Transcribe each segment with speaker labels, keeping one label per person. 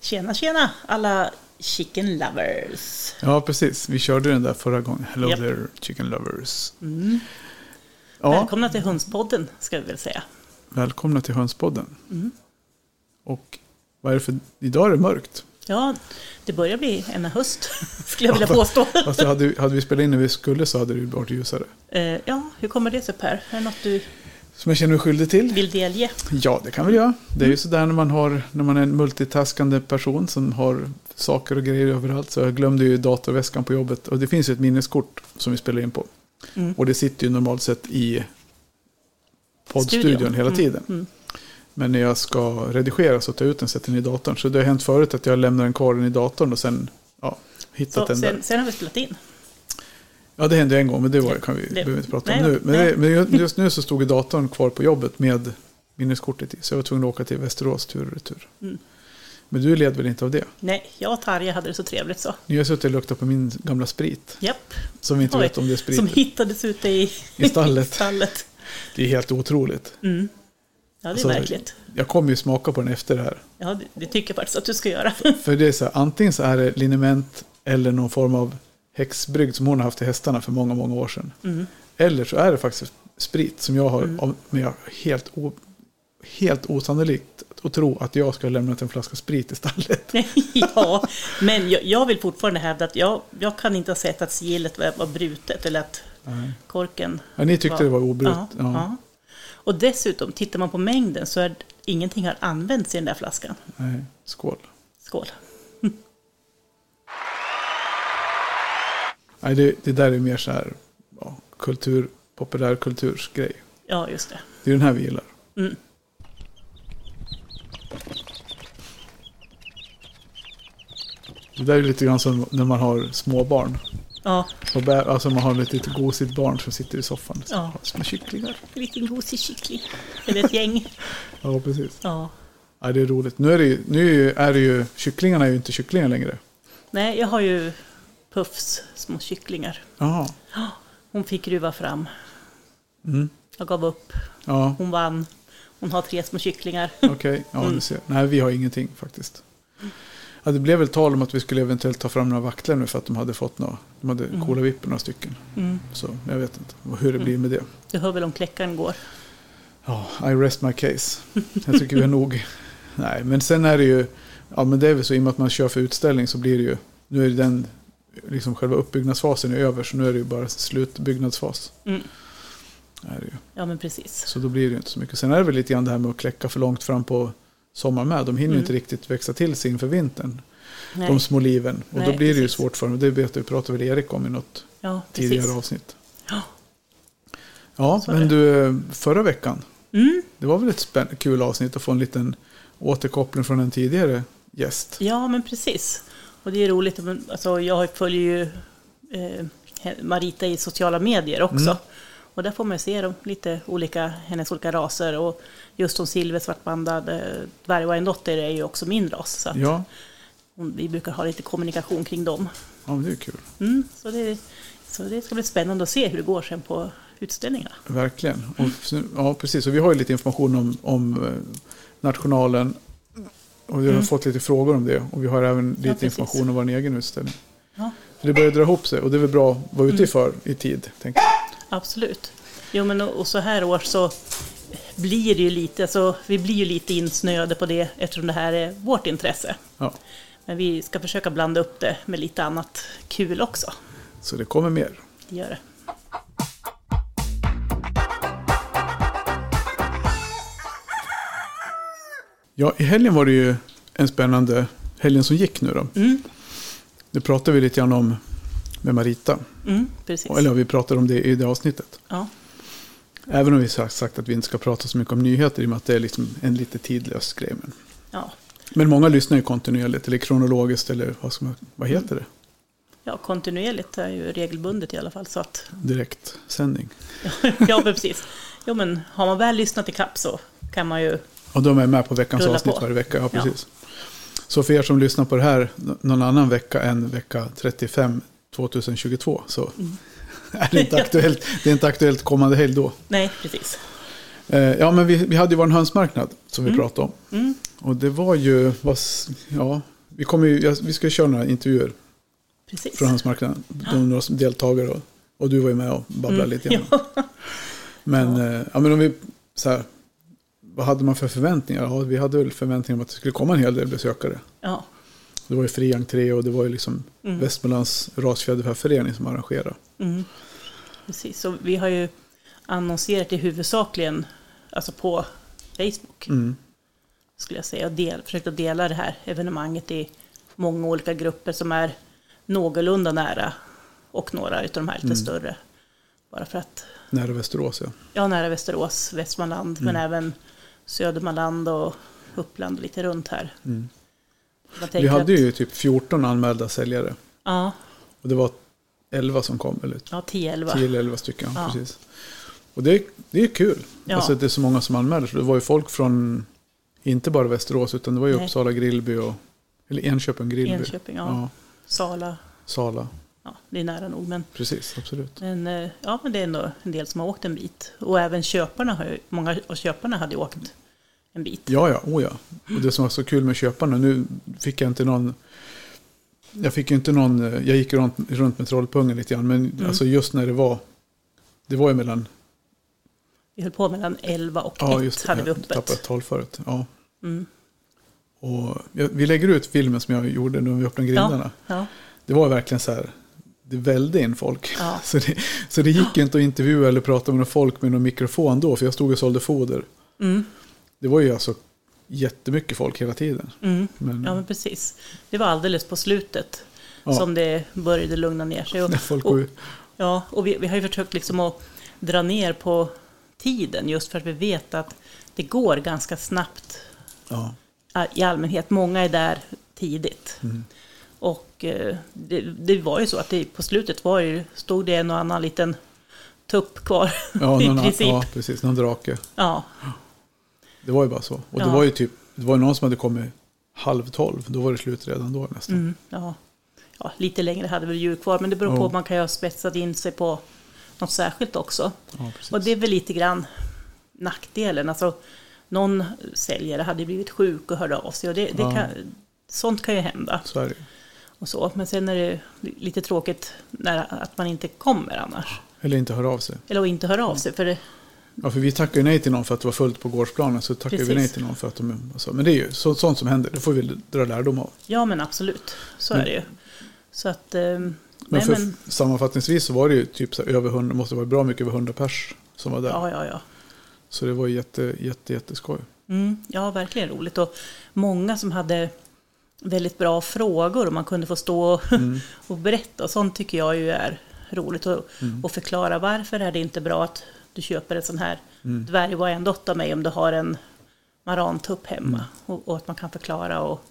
Speaker 1: Tjena, tjena alla chicken lovers.
Speaker 2: Ja, precis. Vi körde den där förra gången. Hello
Speaker 1: Japp. Mm.
Speaker 2: there chicken lovers. Ja,
Speaker 1: Välkomna till Hönspodden, ska vi väl säga.
Speaker 2: välkomna till Hönspodden.
Speaker 1: Mm.
Speaker 2: Och vad är det för... Idag är det mörkt.
Speaker 1: Ja, det börjar bli en höst, skulle jag vilja påstå.
Speaker 2: Alltså, hade, hade vi spelat in när vi skulle så hade det ju varit ljusare.
Speaker 1: Eh, ja, hur kommer det sig Per? Är det något du
Speaker 2: Som jag känner mig skyldig till?
Speaker 1: vill delge?
Speaker 2: Ja, det kan vi göra. Det är
Speaker 1: Mm.
Speaker 2: ju sådär när man, har, när man är en multitaskande person som har saker och grejer överallt. Så jag glömde ju datorväskan på jobbet. Och det finns ju ett minneskort som vi spelar in på.
Speaker 1: Mm.
Speaker 2: Och det sitter ju normalt sett i poddstudion
Speaker 1: Studion.
Speaker 2: hela
Speaker 1: Mm,
Speaker 2: tiden.
Speaker 1: mm.
Speaker 2: Men när jag ska redigera så tar jag ut den och sätter den i datorn. Så det har hänt förut att jag lämnar den kvar den i datorn och sen ja, hittat
Speaker 1: Så,
Speaker 2: den där.
Speaker 1: sen, sen har vi spelat in.
Speaker 2: Ja, det hände en gång, men det var, kan vi
Speaker 1: Det-
Speaker 2: behöver vi inte prata
Speaker 1: nej,
Speaker 2: om nu. Men,
Speaker 1: nej.
Speaker 2: det, men ju- just nu så stod ju datorn kvar på jobbet med minneskortet i. Så jag var tvungen att åka till Västerås tur och retur.
Speaker 1: Mm.
Speaker 2: Men du led väl inte av det?
Speaker 1: Nej, jag och Tarja hade det så trevligt så.
Speaker 2: Ni har suttit och luktat på min gamla sprit.
Speaker 1: Japp,
Speaker 2: Som vi inte
Speaker 1: Oj,
Speaker 2: vet om det är sprit.
Speaker 1: som hittades ute i,
Speaker 2: I stallet.
Speaker 1: stallet.
Speaker 2: Det är helt otroligt.
Speaker 1: Mm. Ja, det är
Speaker 2: Alltså,
Speaker 1: verkligt.
Speaker 2: Jag kommer ju smaka på den efter det här.
Speaker 1: Ja, det, det tycker jag faktiskt att du ska göra.
Speaker 2: För det är så här, antingen så är det liniment eller någon form av häxbrygd som hon har haft till hästarna för många, många år sedan.
Speaker 1: Mm.
Speaker 2: Eller så är det faktiskt sprit som jag har, av- men jag är helt, o, helt osannolikt att tro att jag ska ha lämnat en flaska sprit i stallet.
Speaker 1: Nej, ja, men jag, jag vill fortfarande hävda att jag, jag kan inte ha sett att sigillet var, var brutet eller att
Speaker 2: Nej.
Speaker 1: korken...
Speaker 2: Ja, ni tyckte det var obrutet.
Speaker 1: Ja,
Speaker 2: Ja.
Speaker 1: ja. Och dessutom, tittar man på mängden så är ingenting har använts i den där flaskan.
Speaker 2: Nej. Skål.
Speaker 1: Skål.
Speaker 2: Nej, det, det där är mer så här ja, kultur, populärkulturs grej.
Speaker 1: Ja, just det.
Speaker 2: Det är den här vi gillar.
Speaker 1: Mm.
Speaker 2: Det där är lite grann som när man har småbarn.
Speaker 1: Ja,
Speaker 2: Och bä- Alltså man har ett litet gosigt barn som sitter i soffan.
Speaker 1: Ja.
Speaker 2: Små kycklingar.
Speaker 1: en liten gosig kyckling. Eller ett gäng.
Speaker 2: Ja, precis.
Speaker 1: Ja.
Speaker 2: Ja, det är roligt. Nu är det ju, nu är ju- är det ju kycklingarna är ju inte kycklingar längre.
Speaker 1: Nej, jag har ju Puffs små kycklingar.
Speaker 2: Jaha.
Speaker 1: Hon fick ruva fram.
Speaker 2: Mm.
Speaker 1: Jag gav upp.
Speaker 2: Ja,
Speaker 1: Hon vann. Hon har tre små kycklingar.
Speaker 2: okej. Ja,
Speaker 1: Mm.
Speaker 2: du ser. Nej, vi har ingenting faktiskt. Ja, det blev väl tal om att vi skulle eventuellt ta fram några vacklar nu för att de hade fått några. De hade mm. coola vippor några stycken.
Speaker 1: Mm.
Speaker 2: Så jag vet inte hur det blir med det.
Speaker 1: Du hör väl om kläckaren går?
Speaker 2: Ja, I rest my case. Jag tycker vi har nog. Nej, men sen är det ju, ja men det är väl så i och med att man kör för utställning så blir det ju, nu är det den, liksom själva uppbyggnadsfasen är över så nu är det ju bara slutbyggnadsfas.
Speaker 1: Mm.
Speaker 2: Är det ju.
Speaker 1: Ja, men precis.
Speaker 2: Så då blir det ju inte så mycket. Sen är det väl lite grann det här med att kläcka för långt fram på sommaren med. De hinner ju
Speaker 1: Mm.
Speaker 2: inte riktigt växa till sig inför vintern,
Speaker 1: Nej.
Speaker 2: de små liven. Och då
Speaker 1: Nej,
Speaker 2: blir det ju
Speaker 1: precis.
Speaker 2: svårt för dem. Det vet du, pratade väl Erik om i något
Speaker 1: Ja,
Speaker 2: tidigare
Speaker 1: precis.
Speaker 2: avsnitt.
Speaker 1: Ja.
Speaker 2: Ja,
Speaker 1: Så är
Speaker 2: men
Speaker 1: det.
Speaker 2: du, eh, förra veckan
Speaker 1: Mm.
Speaker 2: det var väl ett spänn- kul avsnitt att få en liten återkoppling från en tidigare gäst.
Speaker 1: Ja, men precis. Och det är roligt, men, alltså, jag följer ju eh, he- Marita i sociala medier också.
Speaker 2: Mm.
Speaker 1: Och där får man ju se de, lite olika, hennes olika raser. Och just hon Silver, svartbandad eh, dvärg och en dotter är ju också min ras. Så att
Speaker 2: Ja,
Speaker 1: hon, vi brukar ha lite kommunikation kring dem.
Speaker 2: ja men det är kul.
Speaker 1: Mm, så, det, så det ska bli spännande att se hur det går sen på utställningarna.
Speaker 2: Verkligen. Och, f- ja, precis. Och vi har ju lite information om, om eh, nationalen. Och vi har fått lite frågor om det. Och vi har även lite
Speaker 1: Mm. precis.
Speaker 2: information om vår egen utställning.
Speaker 1: Ja. Mm.
Speaker 2: För det börjar dra ihop sig och det är väl bra att vara ute i för i tid. Tänker jag.
Speaker 1: Absolut. Jo, men och och så här år så blir det ju lite, alltså, vi blir ju lite insnöade på det eftersom det här är vårt intresse.
Speaker 2: Ja.
Speaker 1: Men vi ska försöka blanda upp det med lite annat kul också.
Speaker 2: Så det kommer mer.
Speaker 1: Det Gör det.
Speaker 2: Ja, i helgen var det ju en spännande helgen som gick nu då.
Speaker 1: Mm.
Speaker 2: Det pratade vi lite grann om med Marita.
Speaker 1: Mm, precis.
Speaker 2: Eller vi pratade om det i det avsnittet.
Speaker 1: Ja.
Speaker 2: Även om vi har sagt att vi inte ska prata så mycket om nyheter i och med att det är liksom en lite tidlös grej. Men,
Speaker 1: Ja.
Speaker 2: men många lyssnar ju kontinuerligt eller kronologiskt eller vad, ska man, vad heter det?
Speaker 1: ja, kontinuerligt är ju regelbundet i alla fall. Så att,
Speaker 2: Direktsändning.
Speaker 1: ja, men precis. Jo, men har man väl lyssnat i kapp så kan man ju...
Speaker 2: Och de är med på veckans
Speaker 1: Rulla
Speaker 2: avsnitt
Speaker 1: på.
Speaker 2: varje vecka. Ja,
Speaker 1: Ja.
Speaker 2: precis. Så för er som lyssnar på det här n- någon annan vecka än vecka 35 2022 så
Speaker 1: Mm.
Speaker 2: är det inte aktuellt, det är inte aktuellt kommande helg då.
Speaker 1: Nej, precis.
Speaker 2: Eh, Ja, men vi, vi hade ju vår hönsmarknad som vi pratade om.
Speaker 1: Mm.
Speaker 2: Och det var ju, vad s- ja, Vi, kommer ju, jag- vi ska köra några intervjuer
Speaker 1: Precis.
Speaker 2: från Handelsmarknaden. De några som deltagare och, och du var ju med och babblade
Speaker 1: Mm.
Speaker 2: lite grann. Men, eh, ja, men om vi, så här, vad hade man för förväntningar? Ja, vi hade väl förväntningar om att det skulle komma en hel del besökare.
Speaker 1: Ja,
Speaker 2: Det var ju fri entré och det var ju liksom Västmanlands rasfjäderfäförening som arrangerade.
Speaker 1: Mm. precis. Så vi har ju annonserat det huvudsakligen alltså på Facebook.
Speaker 2: Mm.
Speaker 1: Skulle jag säga. Och del, försökt att dela det här evenemanget i många olika grupper som är någorlunda nära. Och några utav de här lite
Speaker 2: Mm.
Speaker 1: större. Bara för att
Speaker 2: Nära Västerås ja.
Speaker 1: Ja, nära Västerås, Västmanland, men
Speaker 2: Mm.
Speaker 1: även Södermanland och Uppland och lite runt här. Man tänker
Speaker 2: Mm. Vi hade
Speaker 1: att-
Speaker 2: ju typ 14 anmälda säljare.
Speaker 1: Ja,
Speaker 2: Och det var 11 som kom, eller
Speaker 1: ja 10-11.
Speaker 2: 10 eller 11 stycken.
Speaker 1: Ja.
Speaker 2: Precis. Och det, det är kul.
Speaker 1: Ja.
Speaker 2: Alltså att det är så många som anmäler sig. Det var ju folk från, inte bara Västerås, utan det var ju
Speaker 1: Nej.
Speaker 2: Uppsala Grillby och, eller Enköping Grillby.
Speaker 1: Enköping, ja. Sala,
Speaker 2: Sala,
Speaker 1: ja, det är nära nog. Men,
Speaker 2: precis, absolut.
Speaker 1: men, eh, ja, men det är ändå en del som har åkt en bit. Och även köparna, har ju, många av köparna hade ju åkt en bit.
Speaker 2: Ja, ja, oh ja. Och det som var så kul med köparna, nu fick jag inte någon... Jag fick ju inte någon... eh, Jag gick runt, runt med trollpungen lite grann, men
Speaker 1: Mm.
Speaker 2: alltså just när det var... Det var ju mellan...
Speaker 1: Vi höll på mellan 11 och 1
Speaker 2: Ja, just det,
Speaker 1: hade vi
Speaker 2: jag
Speaker 1: öppet.
Speaker 2: tappade ett tal förut. Ja.
Speaker 1: Mm.
Speaker 2: Och jag, vi lägger ut filmen som jag gjorde när vi öppnade grindarna.
Speaker 1: Ja, ja,
Speaker 2: Det var verkligen så här, det välde in folk.
Speaker 1: Ja.
Speaker 2: Så, det, så det gick ju inte att intervjua eller prata med någon folk med någon mikrofon då, för jag stod och sålde foder.
Speaker 1: mm,
Speaker 2: Det var ju alltså jättemycket folk hela tiden.
Speaker 1: mm.
Speaker 2: Men,
Speaker 1: ja, men precis. Det var alldeles på slutet
Speaker 2: Ja.
Speaker 1: som det började lugna ner sig. Och,
Speaker 2: när folk
Speaker 1: och,
Speaker 2: går ut.
Speaker 1: Ja, och vi, vi har ju försökt liksom att dra ner på tiden just för att vi vet att det går ganska snabbt
Speaker 2: Ja,
Speaker 1: eh, i allmänhet. Många är där tidigt.
Speaker 2: Mm.
Speaker 1: Och eh, det, det var ju så att det, på slutet var ju, stod det en och annan liten tupp kvar
Speaker 2: ja,
Speaker 1: i
Speaker 2: någon,
Speaker 1: princip.
Speaker 2: ja
Speaker 1: Ja.
Speaker 2: precis. Någon drake.
Speaker 1: Ja,
Speaker 2: Det var ju bara så. Och det
Speaker 1: Ja.
Speaker 2: var ju typ, det var ju någon som hade kommit halv tolv. Då var det slut redan då nästan.
Speaker 1: mm, ja. ja, lite längre hade vi djur kvar men det beror på
Speaker 2: Ja.
Speaker 1: om man kan ju ha spetsat in sig på något särskilt också.
Speaker 2: Ja, precis.
Speaker 1: Och det är väl lite grann nackdelen. Alltså, någon säljare hade blivit sjuk och hörde av sig. Och det, det
Speaker 2: Ja.
Speaker 1: kan, sånt kan ju hända.
Speaker 2: Så är det ju.
Speaker 1: Och så. Men sen är det lite tråkigt när, att man inte kommer annars.
Speaker 2: Eller inte höra av sig.
Speaker 1: Eller att inte hör av sig. För det,
Speaker 2: Ja, för vi tackar ju nej till någon för att det var fullt på gårdsplanen. Så tackar vi
Speaker 1: Precis.
Speaker 2: nej till någon för att de... Alltså, men det är ju så, sånt som händer. Det får vi väl dra lärdom av.
Speaker 1: ja men absolut, så
Speaker 2: Men-
Speaker 1: är det ju. Så att, eh,
Speaker 2: Mm. Men,
Speaker 1: nej,
Speaker 2: för,
Speaker 1: men,
Speaker 2: sammanfattningsvis så var det ju typ så här över 100, måste vara bra mycket över 100 pers som var där.
Speaker 1: ja, ja, ja.
Speaker 2: Så det var ju jätte, jätte, jätteskoj.
Speaker 1: Mm, ja, verkligen roligt. Och många som hade väldigt bra frågor och man kunde få stå och,
Speaker 2: Mm.
Speaker 1: och berätta. Och sånt tycker jag ju är roligt. Och,
Speaker 2: Mm.
Speaker 1: och förklara varför är det inte bra att du köper en sån här
Speaker 2: Mm.
Speaker 1: dvärg var en dott av mig om du har en marantupp hemma.
Speaker 2: Mm.
Speaker 1: Och, och att man kan förklara och,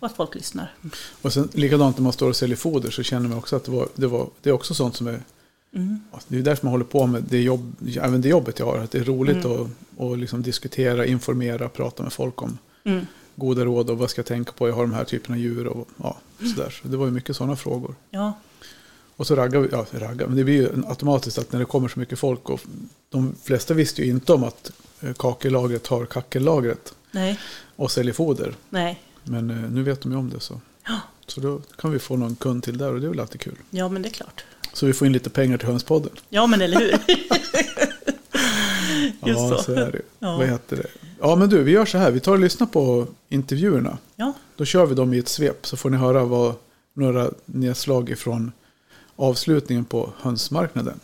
Speaker 1: och att folk lyssnar.
Speaker 2: Och sen likadant när man står och säljer foder så känner man också att det, var, det, var, det är också sånt som är... Ja, Det är därför man håller på med det, jobb, även det jobbet jag har. Att det är roligt att, att liksom diskutera, informera, prata med folk om
Speaker 1: Mm.
Speaker 2: goda råd och vad ska jag tänka på. Jag har de här typerna av djur och ja, sådär. Så det var ju mycket sådana frågor.
Speaker 1: Ja,
Speaker 2: Och så raggar vi, ja raggar, men det blir ju en- automatiskt att när det kommer så mycket folk och de flesta visste ju inte om att eh, kakellagret har kakellagret
Speaker 1: nej,
Speaker 2: och säljer foder.
Speaker 1: nej.
Speaker 2: Men eh, nu vet de ju om det så.
Speaker 1: Ja.
Speaker 2: Så då kan vi få någon kund till där och det är väl alltid kul.
Speaker 1: Ja, men det är klart.
Speaker 2: Så vi får in lite pengar till hönspodden.
Speaker 1: Ja, men eller hur? Just
Speaker 2: ja,
Speaker 1: så.
Speaker 2: så. är det.
Speaker 1: Ja.
Speaker 2: Vad heter det? Ja, men du, vi gör så här. Vi tar och lyssnar på intervjuerna.
Speaker 1: Ja,
Speaker 2: Då kör vi dem i ett svep så får ni höra vad några nedslag ifrån avslutningen på hönsmarknaden.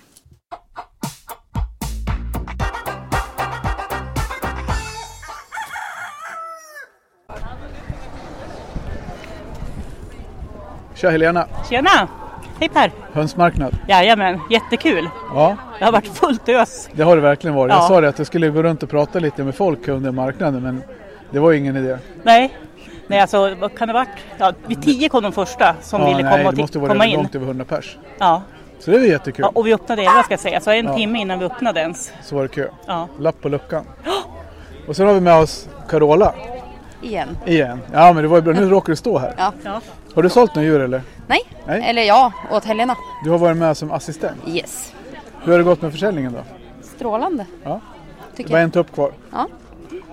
Speaker 2: Tja Helena,
Speaker 1: tjena! Hej Per!
Speaker 2: hönsmarknad.
Speaker 1: Jajamän, jättekul.
Speaker 2: Ja,
Speaker 1: Det har varit fullt ös.
Speaker 2: det har det verkligen varit. Jag
Speaker 1: Ja.
Speaker 2: sa det att jag skulle gå runt och prata lite med folk under marknaden men det var ju ingen idé.
Speaker 1: Nej, nej alltså vad kan det varit? Ja, vid tio kom de första som
Speaker 2: Ja,
Speaker 1: ville
Speaker 2: nej,
Speaker 1: komma, och
Speaker 2: det
Speaker 1: ti-
Speaker 2: måste vara
Speaker 1: komma
Speaker 2: redan
Speaker 1: in.
Speaker 2: långt över 100 pers.
Speaker 1: Ja.
Speaker 2: Så det är jättekul.
Speaker 1: ja, och vi öppnade elva ska jag säga, så en timme innan vi öppnade ens.
Speaker 2: Så var det kö.
Speaker 1: Ja.
Speaker 2: Lapp på luckan. Och sen har vi med oss Carola
Speaker 3: Igen.
Speaker 2: igen. Ja men det var ju bra, nu råkar du stå här.
Speaker 3: Ja.
Speaker 2: Har du sålt några djur eller?
Speaker 3: Nej.
Speaker 2: Nej.
Speaker 3: Eller ja, åt Helena.
Speaker 2: Du har varit med som assistent.
Speaker 3: Yes.
Speaker 2: Hur har det gått med försäljningen då?
Speaker 3: Strålande.
Speaker 2: Ja. Det
Speaker 3: Tycker
Speaker 2: var
Speaker 3: jag.
Speaker 2: en tupp kvar.
Speaker 3: Ja.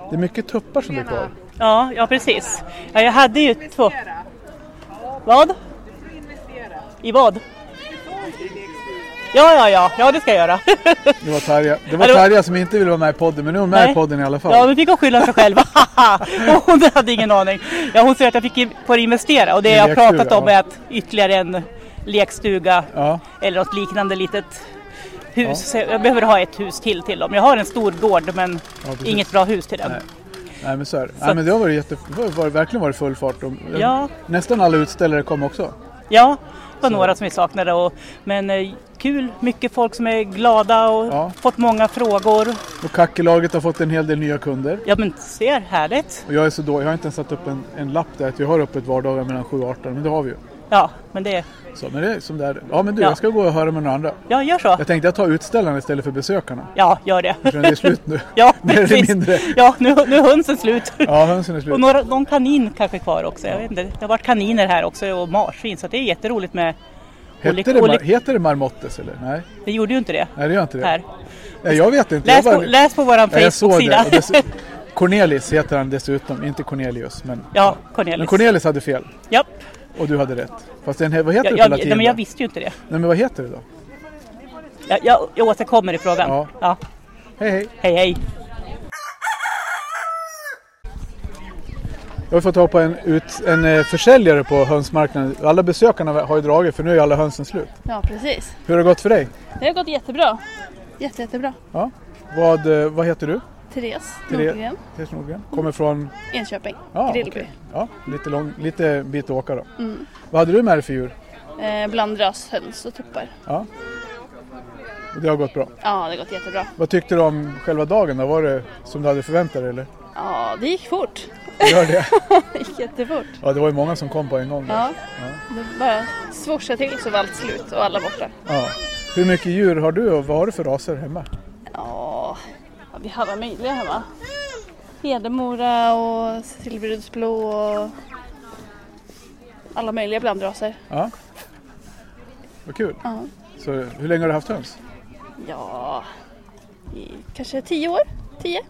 Speaker 2: Det är mycket tuppar som blir kvar.
Speaker 1: Ja, ja precis. Ja, jag hade ju två. Vad? I vad? Ja, ja, ja, ja det ska jag göra.
Speaker 2: Det var Tarja. Det var
Speaker 1: Hallå?
Speaker 2: Tarja som inte ville vara med i podden, men nu är hon med
Speaker 1: Nej.
Speaker 2: i podden i alla fall.
Speaker 1: Ja, nu fick hon skylla sig själv. Och hon hade ingen aning. Ja, hon säger att jag fick in på att investera och det
Speaker 2: I
Speaker 1: jag har pratat
Speaker 2: lekstuga,
Speaker 1: om
Speaker 2: ja.
Speaker 1: är att ytterligare en lekstuga
Speaker 2: Ja.
Speaker 1: eller något liknande litet hus.
Speaker 2: Ja.
Speaker 1: Så jag behöver ha ett hus till till dem. Jag har en stor gård men
Speaker 2: Ja, precis.
Speaker 1: inget bra hus till den.
Speaker 2: Nej. Nej men så är det.
Speaker 1: Så
Speaker 2: Nej,
Speaker 1: att-
Speaker 2: men det har varit jätte... det har varit- verkligen varit full fart. De-
Speaker 1: Ja.
Speaker 2: Nästan alla utställare kom också.
Speaker 1: Ja, det var
Speaker 2: Så.
Speaker 1: några som vi saknade. Och, men eh, kul, mycket folk som är glada och
Speaker 2: Ja.
Speaker 1: fått många frågor.
Speaker 2: Och Kackelaget har fått en hel del nya kunder.
Speaker 1: Ja men ser, härligt.
Speaker 2: Och jag är så dålig, jag har inte ens satt upp en, en lapp där att vi har öppet vardagar mellan 7 och 18, men det har vi ju.
Speaker 1: Ja, men det,
Speaker 2: Så, men det är som det är. Ja men du,
Speaker 1: Ja.
Speaker 2: jag ska gå och höra med några andra.
Speaker 1: ja gör så.
Speaker 2: Jag tänkte jag tar utställarna istället för besökarna.
Speaker 1: Ja, gör det.
Speaker 2: Eftersom det är slut nu.
Speaker 1: Ja,
Speaker 2: Mer eller
Speaker 1: precis.
Speaker 2: mindre.
Speaker 1: Ja, nu, nu är hönsen slut.
Speaker 2: Ja, hönsen är slut.
Speaker 1: Och några, någon kanin kanske kvar också. Jag vet inte. Det har varit kaniner här också och marsvin så att det är jätteroligt med...
Speaker 2: Heter
Speaker 1: Olik-
Speaker 2: det, mar-
Speaker 1: olik-
Speaker 2: heter det marmottes eller? Nej,
Speaker 1: Det gjorde ju inte det.
Speaker 2: nej det gör inte det.
Speaker 1: Här.
Speaker 2: Nej, jag vet inte.
Speaker 1: Läs,
Speaker 2: jag
Speaker 1: på, läs på vår
Speaker 2: Ja, jag såg det.
Speaker 1: Facebook-sida.
Speaker 2: Och dess- Cornelis heter han dessutom, inte Cornelius. Men,
Speaker 1: Ja,
Speaker 2: men
Speaker 1: Cornelis.
Speaker 2: Cornelis hade fel
Speaker 1: Ja,
Speaker 2: och du hade rätt. Fast den, här- vad heter
Speaker 1: jag,
Speaker 2: det på
Speaker 1: jag,
Speaker 2: latin?
Speaker 1: nej, men jag
Speaker 2: då?
Speaker 1: visste ju inte det.
Speaker 2: Nej, men vad heter det då?
Speaker 1: Jag, jag, jag återkommer i frågan.
Speaker 2: Ja.
Speaker 1: Ja.
Speaker 2: Hej hej!
Speaker 1: Hej, hej.
Speaker 2: Jag har fått ta på en, ut, en eh, försäljare på hönsmarknaden. Alla besökarna har ju dragit för nu är alla hönsen slut.
Speaker 3: Ja, precis.
Speaker 2: Hur har det gått för dig?
Speaker 3: Det har gått jättebra. Jätte, jättebra.
Speaker 2: Ja. Vad, eh, vad heter du?
Speaker 3: Therese
Speaker 2: Therese.
Speaker 3: Nordgren,
Speaker 2: Therese Nordgren. Kommer från
Speaker 3: Enköping,
Speaker 2: ja,
Speaker 3: Grillby. Mm.
Speaker 2: okej. ja, lite, lång, lite bit att åka då. Vad hade du med dig för djur?
Speaker 3: Eh, bland rashöns och tuppar.
Speaker 2: Ja. Och det har gått bra.
Speaker 3: Ja, det har gått jättebra.
Speaker 2: Vad tyckte du om själva dagen då? Var det som du hade förväntat dig eller?
Speaker 3: Ja, det gick fort.
Speaker 2: Gör det?
Speaker 3: Det gick jättefort.
Speaker 2: Ja, det var ju många som kom på en gång. där.
Speaker 3: Ja, det bara swooshade till så var allt slut och alla borta.
Speaker 2: Ja. Hur mycket djur har du och vad har du för raser hemma?
Speaker 3: Ja, ja, vi har alla möjliga hemma. Hedemora och Silverudsblå och alla möjliga blandraser.
Speaker 2: Ja. Vad kul.
Speaker 3: Ja.
Speaker 2: Så, hur länge har du haft höns?
Speaker 3: Ja, i kanske tio år? Tio?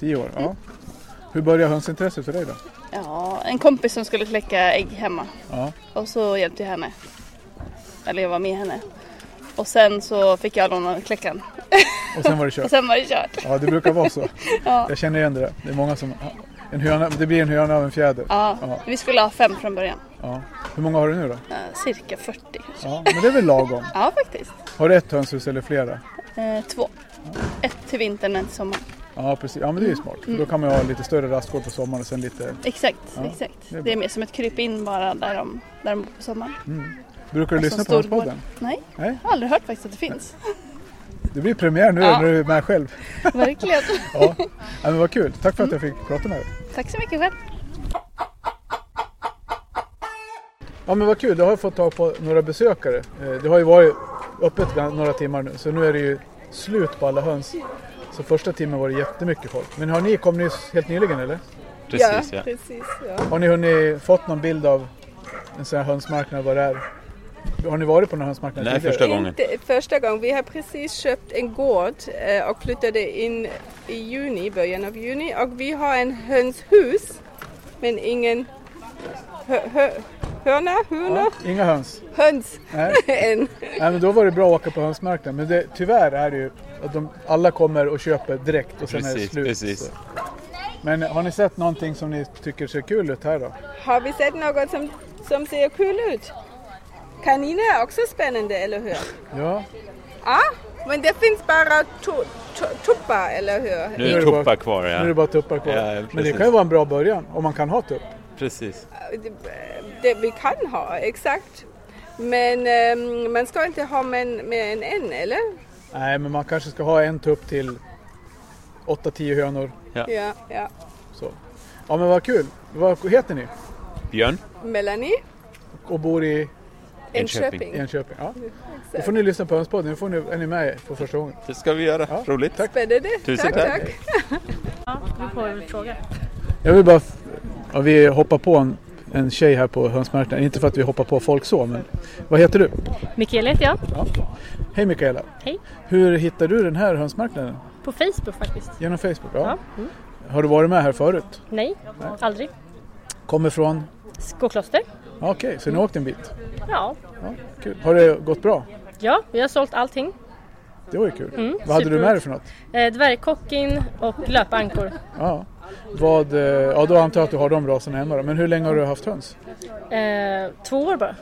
Speaker 2: Tio år?
Speaker 3: Mm.
Speaker 2: Ja. Hur började hönsintresset för dig då?
Speaker 3: Ja, en kompis som skulle kläcka ägg hemma
Speaker 2: Ja.
Speaker 3: och så hjälpte jag henne. Eller jag var med henne. Och sen så fick jag låna kläckan
Speaker 2: Och sen var det
Speaker 3: och
Speaker 2: kört?
Speaker 3: sen var det kört.
Speaker 2: Ja, det brukar vara så.
Speaker 3: Ja.
Speaker 2: Jag känner igen det där. Det är många som... En höna, det blir en höna av en fjäder.
Speaker 3: Ja,
Speaker 2: Ja.
Speaker 3: vi skulle ha fem från början.
Speaker 2: Ja. Hur många har du nu då?
Speaker 3: Eh, cirka 40 kanske.
Speaker 2: Ja, men det är väl lagom.
Speaker 3: Ja, faktiskt.
Speaker 2: Har du ett hönshus eller flera?
Speaker 3: Eh, två. Ett till vintern och ett till sommaren.
Speaker 2: Ja, precis. Ja, men
Speaker 3: Mm.
Speaker 2: det är ju smart. Då kan man ju ha lite större rastgård på sommaren och sen lite...
Speaker 3: Exakt,
Speaker 2: Ja,
Speaker 3: exakt.
Speaker 2: det är
Speaker 3: Det är,
Speaker 2: bra.
Speaker 3: mer som ett kryp in bara där de, där de bor på sommaren.
Speaker 2: Brukar du lyssna på
Speaker 3: Som Alltså storgård.
Speaker 2: hönspodden?
Speaker 3: Nej,
Speaker 2: Nej.
Speaker 3: jag har aldrig hört faktiskt att det finns.
Speaker 2: Det blir premiär nu
Speaker 3: Ja.
Speaker 2: när du är med själv.
Speaker 3: Verkligen.
Speaker 2: Ja, ja men vad kul. Tack för att jag fick prata med dig.
Speaker 3: Tack så mycket själv.
Speaker 2: Ja men vad kul, då har jag fått tag på några besökare. Eh, Det har ju varit öppet gan- några timmar nu så nu är det ju slut på alla höns. Så första timmen var det jättemycket folk. Men har ni, kom ni helt nyligen eller?
Speaker 4: Precis ja.
Speaker 5: Precis, ja.
Speaker 2: Har ni hunnit fått någon bild av en sån här hönsmarknad, vad det är? Har ni varit på någon hönsmarknad
Speaker 4: Nej,
Speaker 2: tidigare?
Speaker 4: första gången.
Speaker 5: Inte första gången. Vi har precis köpt en gård eh, och flyttade in i juni, början av juni. Och vi har en hönshus, men ingen hö- hö- hörna, hörna,
Speaker 2: Ja, inga höns?
Speaker 5: höns
Speaker 2: Nej.
Speaker 5: än.
Speaker 2: Nej men då var det bra att åka på hönsmarknaden. Men det, tyvärr är det ju att de, alla kommer och köper direkt och sen är det
Speaker 4: Precis,
Speaker 2: slut.
Speaker 4: precis.
Speaker 2: Så. Men har ni sett någonting som ni tycker ser kul ut här då?
Speaker 5: Har vi sett något som, som ser kul ut? Kaniner är också spännande, eller hur?
Speaker 2: Ja,
Speaker 5: Ja, men det finns bara tu- tu- tuppar, eller hur?
Speaker 4: Nu är
Speaker 2: Nu är
Speaker 4: det
Speaker 2: det bara-
Speaker 4: tuppar kvar
Speaker 2: Nu är det
Speaker 4: ja.
Speaker 2: bara tuppar kvar.
Speaker 4: Ja, ja,
Speaker 2: men det
Speaker 4: precis.
Speaker 2: kan ju vara en bra början om man kan ha tupp.
Speaker 4: Precis.
Speaker 5: Det, det vi kan ha, exakt. Men ehm, man ska inte ha med, en- med en än, eller?
Speaker 2: Nej, men man kanske ska ha en tupp till 8-10 hönor.
Speaker 5: Ja, ja.
Speaker 2: Så. Ja, men vad kul. Vad heter ni?
Speaker 4: Björn?
Speaker 5: Melanie,
Speaker 2: Och bor i
Speaker 5: Enköping.
Speaker 2: Enköping? Ja. Då får ni lyssna på Hönspodden. Nu får ni, är ni med för första gången.
Speaker 4: Det ska vi göra.
Speaker 2: Ja.
Speaker 4: Roligt. Tack.
Speaker 5: Spännande.
Speaker 4: Tusen
Speaker 5: tack.
Speaker 4: tack.
Speaker 5: tack.
Speaker 2: Jag vill bara... f- Ja, vi hoppar på en, en tjej här på hönsmarknaden. Inte för att vi hoppar på folk så, men... Vad heter du?
Speaker 6: Mikaela heter jag,
Speaker 2: Ja. Hej Mikaela.
Speaker 6: Hej.
Speaker 2: Hur hittar du den här hönsmarknaden?
Speaker 6: på Facebook faktiskt.
Speaker 2: Genom Facebook? Ja.
Speaker 6: Ja. Mm.
Speaker 2: Har du varit med här förut?
Speaker 6: Nej, aldrig.
Speaker 2: Kommer från?
Speaker 6: Skokloster,
Speaker 2: Okej, så ni har åkt en bit?
Speaker 6: Ja.
Speaker 2: Ja, kul. Har det gått bra?
Speaker 6: ja, vi har sålt allting.
Speaker 2: Det var ju kul.
Speaker 6: Mm,
Speaker 2: Vad hade du
Speaker 6: superroligt.
Speaker 2: med dig för något?
Speaker 6: Eh, dvärgkockin och löpankor.
Speaker 2: Ja. Vad, eh, ja, då antar jag att du har de raserna hemma då. Men hur länge har du haft höns?
Speaker 6: Eh, två år bara.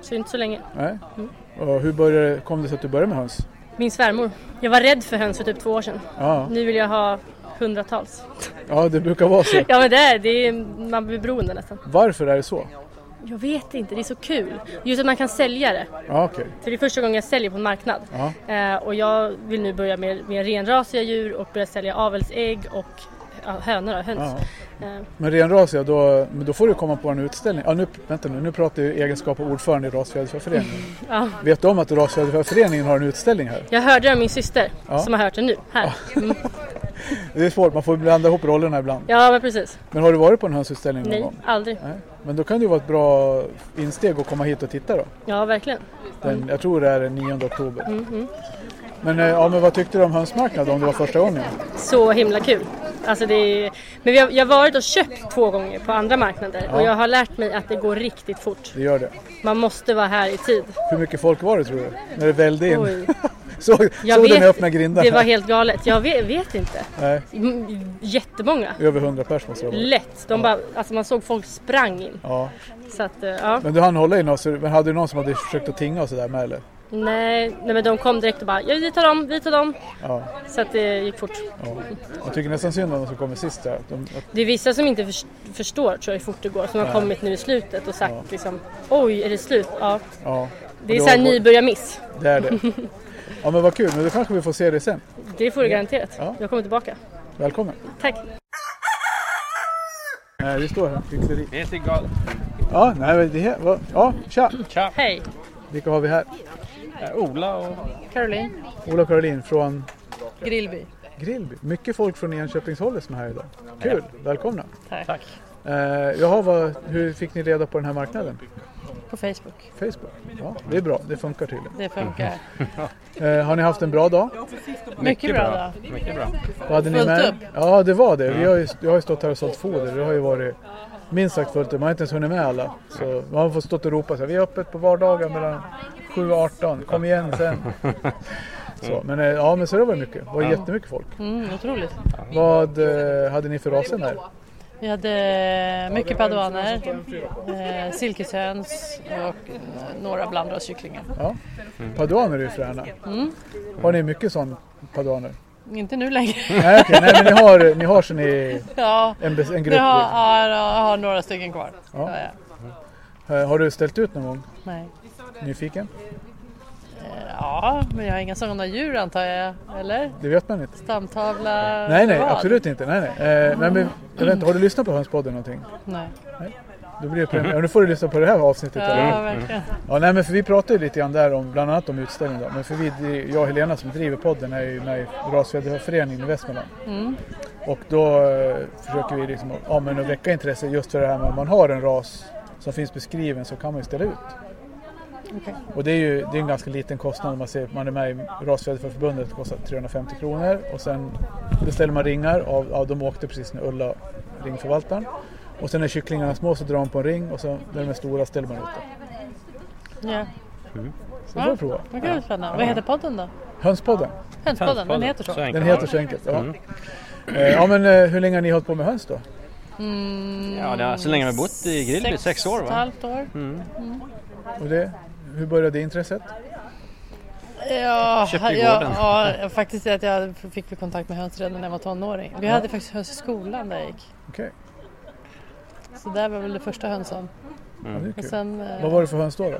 Speaker 6: Så det är inte så länge.
Speaker 2: Nej.
Speaker 6: Mm.
Speaker 2: Och hur började, kom det sig att du började med höns?
Speaker 6: Min svärmor. Jag var rädd för höns för typ två år sedan.
Speaker 2: Ja,
Speaker 6: Nu vill jag ha hundratals.
Speaker 2: ja det brukar vara så.
Speaker 6: Ja men det är, det är man blir beroende nästan.
Speaker 2: Varför är det så?
Speaker 6: Jag vet inte, det är så kul. Just att man kan sälja det.
Speaker 2: Ja, okej.
Speaker 6: För det är första gången jag säljer på en marknad.
Speaker 2: Ja.
Speaker 6: Eh, och jag vill nu börja med, med renrasiga djur och börja sälja avelsägg och ja, hönor och höns.
Speaker 2: Ja.
Speaker 6: Eh,
Speaker 2: Men renrasiga, då, men då får du komma på en utställning. Ja, nu, vänta nu, nu pratar jag i egenskap av ordförande i Rasfjäderfäföreningen.
Speaker 6: ja.
Speaker 2: Vet du om att Rasfjäderfäföreningen har en utställning här?
Speaker 6: Jag hörde det av min syster
Speaker 2: Ja.
Speaker 6: som har hört det nu här. Mm.
Speaker 2: Det är svårt, man får blanda ihop rollerna ibland.
Speaker 6: Ja men precis.
Speaker 2: Men har du varit på en hönsutställning någon
Speaker 6: Nej,
Speaker 2: gång?
Speaker 6: aldrig.
Speaker 2: Nej. Men då kan det ju vara ett bra insteg att komma hit och titta då.
Speaker 6: Ja verkligen.
Speaker 2: Den,
Speaker 6: Mm.
Speaker 2: jag tror det är den 9 oktober. Men, eh, ja, men vad tyckte du om hönsmarknaden om det var första gången?
Speaker 6: Så himla kul. Alltså det är... Men jag, jag har varit och köpt två gånger på andra marknader och
Speaker 2: Ja.
Speaker 6: jag har lärt mig att det går riktigt fort.
Speaker 2: Det gör det.
Speaker 6: Man måste vara här i tid.
Speaker 2: Hur mycket folk var det tror du? När det vällde in?
Speaker 6: Oj.
Speaker 2: Så, såg
Speaker 6: Jag
Speaker 2: du den öppna grinden?
Speaker 6: Det var helt galet. Jag vet, vet inte.
Speaker 2: Nej,
Speaker 6: Mm, Jättemånga.
Speaker 2: över 100 pers måste det ha varit.
Speaker 6: Lätt. De bara, alltså man såg folk sprang in.
Speaker 2: Ja.
Speaker 6: Så att, eh, ja.
Speaker 2: Men du hann hålla i något, så- men hade du någon som hade försökt att tinga och sådär med eller?
Speaker 6: Nej, nej men de kom direkt och bara ja, vi tar dem, vi tar dem.
Speaker 2: Ja,
Speaker 6: Så att det gick fort.
Speaker 2: ja. Jag tycker nästan synd om de som kommer sist där. De, att,
Speaker 6: Det är vissa som inte förs- förstår tror jag hur fort det går som har
Speaker 2: Nej.
Speaker 6: kommit nu i slutet och sagt
Speaker 2: Ja.
Speaker 6: liksom oj är det slut? Ja.
Speaker 2: ja.
Speaker 6: Det är
Speaker 2: Och
Speaker 6: såhär
Speaker 2: var-
Speaker 6: nybörjarmiss.
Speaker 2: Det är det. Ja men vad kul, men då kanske vi får se dig sen.
Speaker 6: Det får du garanterat.
Speaker 2: Ja.
Speaker 6: Jag kommer tillbaka.
Speaker 2: Välkommen.
Speaker 6: Tack.
Speaker 2: Nej, vi står här. Hyckleri.
Speaker 7: Det heter gal...
Speaker 2: Ja, nej, men det här, vad, ja, tja.
Speaker 6: Hej.
Speaker 2: Vilka har vi här?
Speaker 7: Ola och...
Speaker 5: Caroline.
Speaker 2: Ola och Caroline från
Speaker 5: Grillby.
Speaker 2: Grillby. Mycket folk från Enköpingshållet som är här idag. Kul, välkomna.
Speaker 7: Tack.
Speaker 2: Eh, jaha, vad, hur fick ni reda på den här marknaden?
Speaker 8: På Facebook.
Speaker 2: Facebook? Ja, det är bra, det funkar tydligen.
Speaker 8: Det funkar.
Speaker 2: Eh, har ni haft en bra dag?
Speaker 8: Mycket bra då.
Speaker 7: Mycket bra.
Speaker 2: Vad hade ni
Speaker 8: Fullt
Speaker 2: med?
Speaker 8: upp.
Speaker 2: Ja, det var det. Vi har ju, jag har ju stått här och sålt foder. Det har ju varit minst sagt fullt upp. Man har inte ens hunnit med alla. Så man har fått stått och ropa så här. Vi är öppet på vardagar mellan 7 och 18. Kom igen sen. Så, men eh, ja, men så det var mycket. Det var jättemycket folk.
Speaker 8: Mm, otroligt.
Speaker 2: Vad eh, hade ni för raser här?
Speaker 8: Vi hade mycket paduaner, eh, silkeshöns och eh, några blandraskycklingar.
Speaker 2: Ja. Paduaner är ju fräna.
Speaker 8: Mm.
Speaker 2: Har ni mycket sån paduaner?
Speaker 8: Inte nu längre.
Speaker 2: Nej, okej. Nej, men ni har, ni har så ni
Speaker 8: ja,
Speaker 2: en, bes- en
Speaker 8: nu
Speaker 2: grupp. liksom.
Speaker 8: har, ja, jag har några stycken kvar.
Speaker 2: Ja.
Speaker 8: Ja. Ja,
Speaker 2: Eh, Har du ställt ut någon gång?
Speaker 8: Nej.
Speaker 2: Nyfiken?
Speaker 8: Eh, ja, men jag har inga sådana djur antar jag. Eller?
Speaker 2: Det vet man inte.
Speaker 8: Stamtavla?
Speaker 2: Nej, nej,
Speaker 8: vad?
Speaker 2: absolut inte. Nej, nej. Eh, nej men, jag vet inte, har du lyssnat på Hönspodden någonting?
Speaker 8: Nej.
Speaker 2: Då blir det premiär. Ja, nu får du lyssna på det här avsnittet. då.
Speaker 8: Ja, verkligen.
Speaker 2: Ja, nej, men för vi pratade ju lite grann där om, bland annat om utställningen. Då. Men för vi, jag och Helena som driver podden är ju med i Rasfjäderföreningen i Västmanland.
Speaker 8: Mm.
Speaker 2: Och då eh, försöker vi liksom, ja, men att väcka intresse just för det här med om man har en ras som finns beskriven så kan man ju ställa ut. Och det är ju det är en ganska liten kostnad om man ser man är med i Rasfjäderförbundet, det kostar 350 kronor och sen beställer man ringar av, ja, de åkte precis när Ulla, ringförvaltaren. Och sen när kycklingarna är små så drar man på en ring och sen när de är stora ställer man ut dem.
Speaker 8: Ja.
Speaker 2: Så det får vi prova.
Speaker 8: Vad kul spännande. Vad heter podden då?
Speaker 2: Hönspodden,
Speaker 8: Hönspodden, den heter så.
Speaker 7: enkelt
Speaker 2: den
Speaker 7: var
Speaker 2: heter så enkelt. Ja. Eh, Ja men eh, hur länge har ni hållit på med höns då?
Speaker 7: det. Ja, det har, så länge vi har bott i Grillby, sex år
Speaker 8: och ett
Speaker 7: va?
Speaker 8: halvt år.
Speaker 2: Och det, hur började det intresset?
Speaker 8: Ja,
Speaker 7: Köpte ju gården.
Speaker 8: ja, ja, faktiskt är att jag fick väl kontakt med höns redan när jag var tonåring. Vi hade faktiskt höns i skolan där jag gick.
Speaker 2: Okej,
Speaker 8: Så där var väl det första hönsen.
Speaker 2: ja, det är
Speaker 8: Och
Speaker 2: kul.
Speaker 8: sen... eh,
Speaker 2: Vad var det för höns då? då?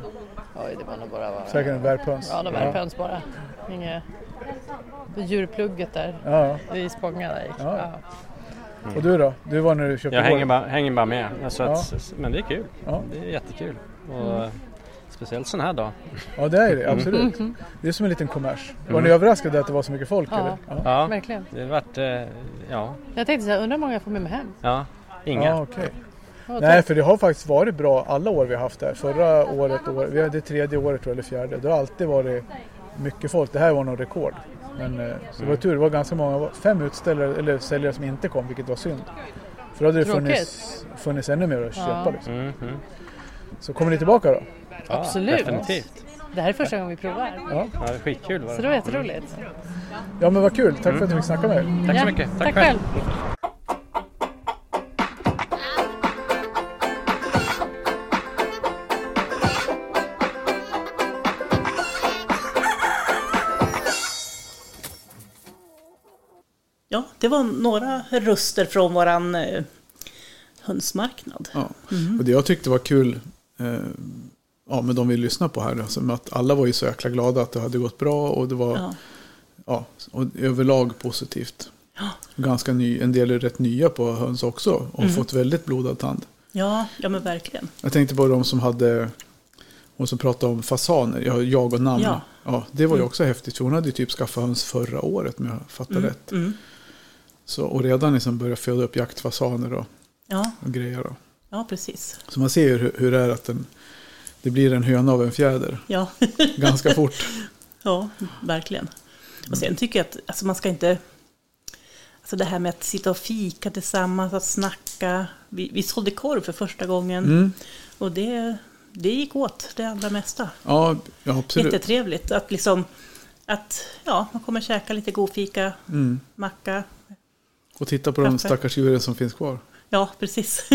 Speaker 8: Oj, det var nog bara... Var,
Speaker 2: Säkert en värphöns?
Speaker 8: Ja, det var höns bara. Inget... det Djurplugget där
Speaker 2: Ja.
Speaker 8: i Spånga där jag gick.
Speaker 2: Ja.
Speaker 8: Ja.
Speaker 2: ja. Och du då? Du var när du köpte
Speaker 7: Jag hänger
Speaker 2: gården.
Speaker 7: bara, hänger bara med. Alltså att, Men det är kul.
Speaker 2: Ja.
Speaker 7: Det är jättekul. Och,
Speaker 8: Mm.
Speaker 7: Speciellt sån här dag.
Speaker 2: Ja det är
Speaker 7: Mm.
Speaker 2: det, absolut. Det är som en liten kommers. Var ni överraskade att det var så mycket folk?
Speaker 8: Mm. Ja.
Speaker 2: Eller? Ja.
Speaker 7: Ja,
Speaker 8: Verkligen.
Speaker 7: det vart... eh, Ja,
Speaker 8: Jag tänkte så här, undrar hur många jag får med mig hem?
Speaker 7: ja.
Speaker 2: Ja,
Speaker 7: Inga.
Speaker 2: okej.
Speaker 8: Vad
Speaker 2: Nej,
Speaker 8: Nej.
Speaker 2: för det har faktiskt varit bra alla år vi har haft det här. Förra året, år, vi hade det tredje året tror jag, eller fjärde. Det har alltid varit mycket folk. Det här var nog rekord. Men eh, så det
Speaker 7: Mm.
Speaker 2: var tur, det var ganska många, fem utställare eller säljare som inte kom, vilket var synd. För då hade det funnits, funnits ännu mer att
Speaker 8: Ja.
Speaker 2: köpa. Liksom.
Speaker 7: Mm, mm.
Speaker 2: Så kommer ni tillbaka då?
Speaker 8: Absolut.
Speaker 7: Definitivt.
Speaker 8: Det här är första gången vi provar.
Speaker 7: Ja, det är skitkul var
Speaker 8: Så
Speaker 7: det.
Speaker 8: det var jätteroligt.
Speaker 2: Ja men vad kul, tack för att du fick snacka med er.
Speaker 7: Tack
Speaker 8: Ja,
Speaker 7: så mycket. Tack,
Speaker 8: Tack
Speaker 7: själv.
Speaker 8: själv.
Speaker 1: Ja, det var några röster från våran eh, hönsmarknad.
Speaker 2: Ja. Och det jag tyckte var kul eh, ja, med de vi lyssnade på här, alltså, med att alla var ju så jäkla glada att det hade gått bra och det var
Speaker 1: Ja.
Speaker 2: ja, och överlag positivt. Ganska ny, en del är rätt nya på höns också och
Speaker 1: Mm.
Speaker 2: har fått väldigt blodad tand.
Speaker 1: Ja, ja, men verkligen.
Speaker 2: Jag tänkte på de som hade hon som pratade om fasaner, jag, jag och namn. Ja.
Speaker 1: Ja. Mm.
Speaker 2: det var ju också häftigt för hon hade ju typ skaffat höns förra året om jag fattar rätt.
Speaker 1: Mm.
Speaker 2: Så, och redan liksom börjat föda upp jaktfasaner och,
Speaker 1: Ja,
Speaker 2: och grejer. Då.
Speaker 1: ja, precis.
Speaker 2: Så man ser ju hur, hur det är att den, det blir en höna av en fjäder
Speaker 1: Ja.
Speaker 2: ganska fort.
Speaker 1: Ja, verkligen. Och sen tycker jag att alltså man ska inte... Alltså det här med att sitta och fika tillsammans, att snacka. Vi, vi sålde korv för första gången.
Speaker 2: Mm.
Speaker 1: Och det, det gick åt, det allra mesta.
Speaker 2: Ja, ja absolut.
Speaker 1: Jättetrevligt att liksom... Att ja, man kommer käka lite god fika, macka.
Speaker 2: Mm. Och titta på de
Speaker 1: Kaffe.
Speaker 2: stackars djuren som finns kvar.
Speaker 1: Ja, precis.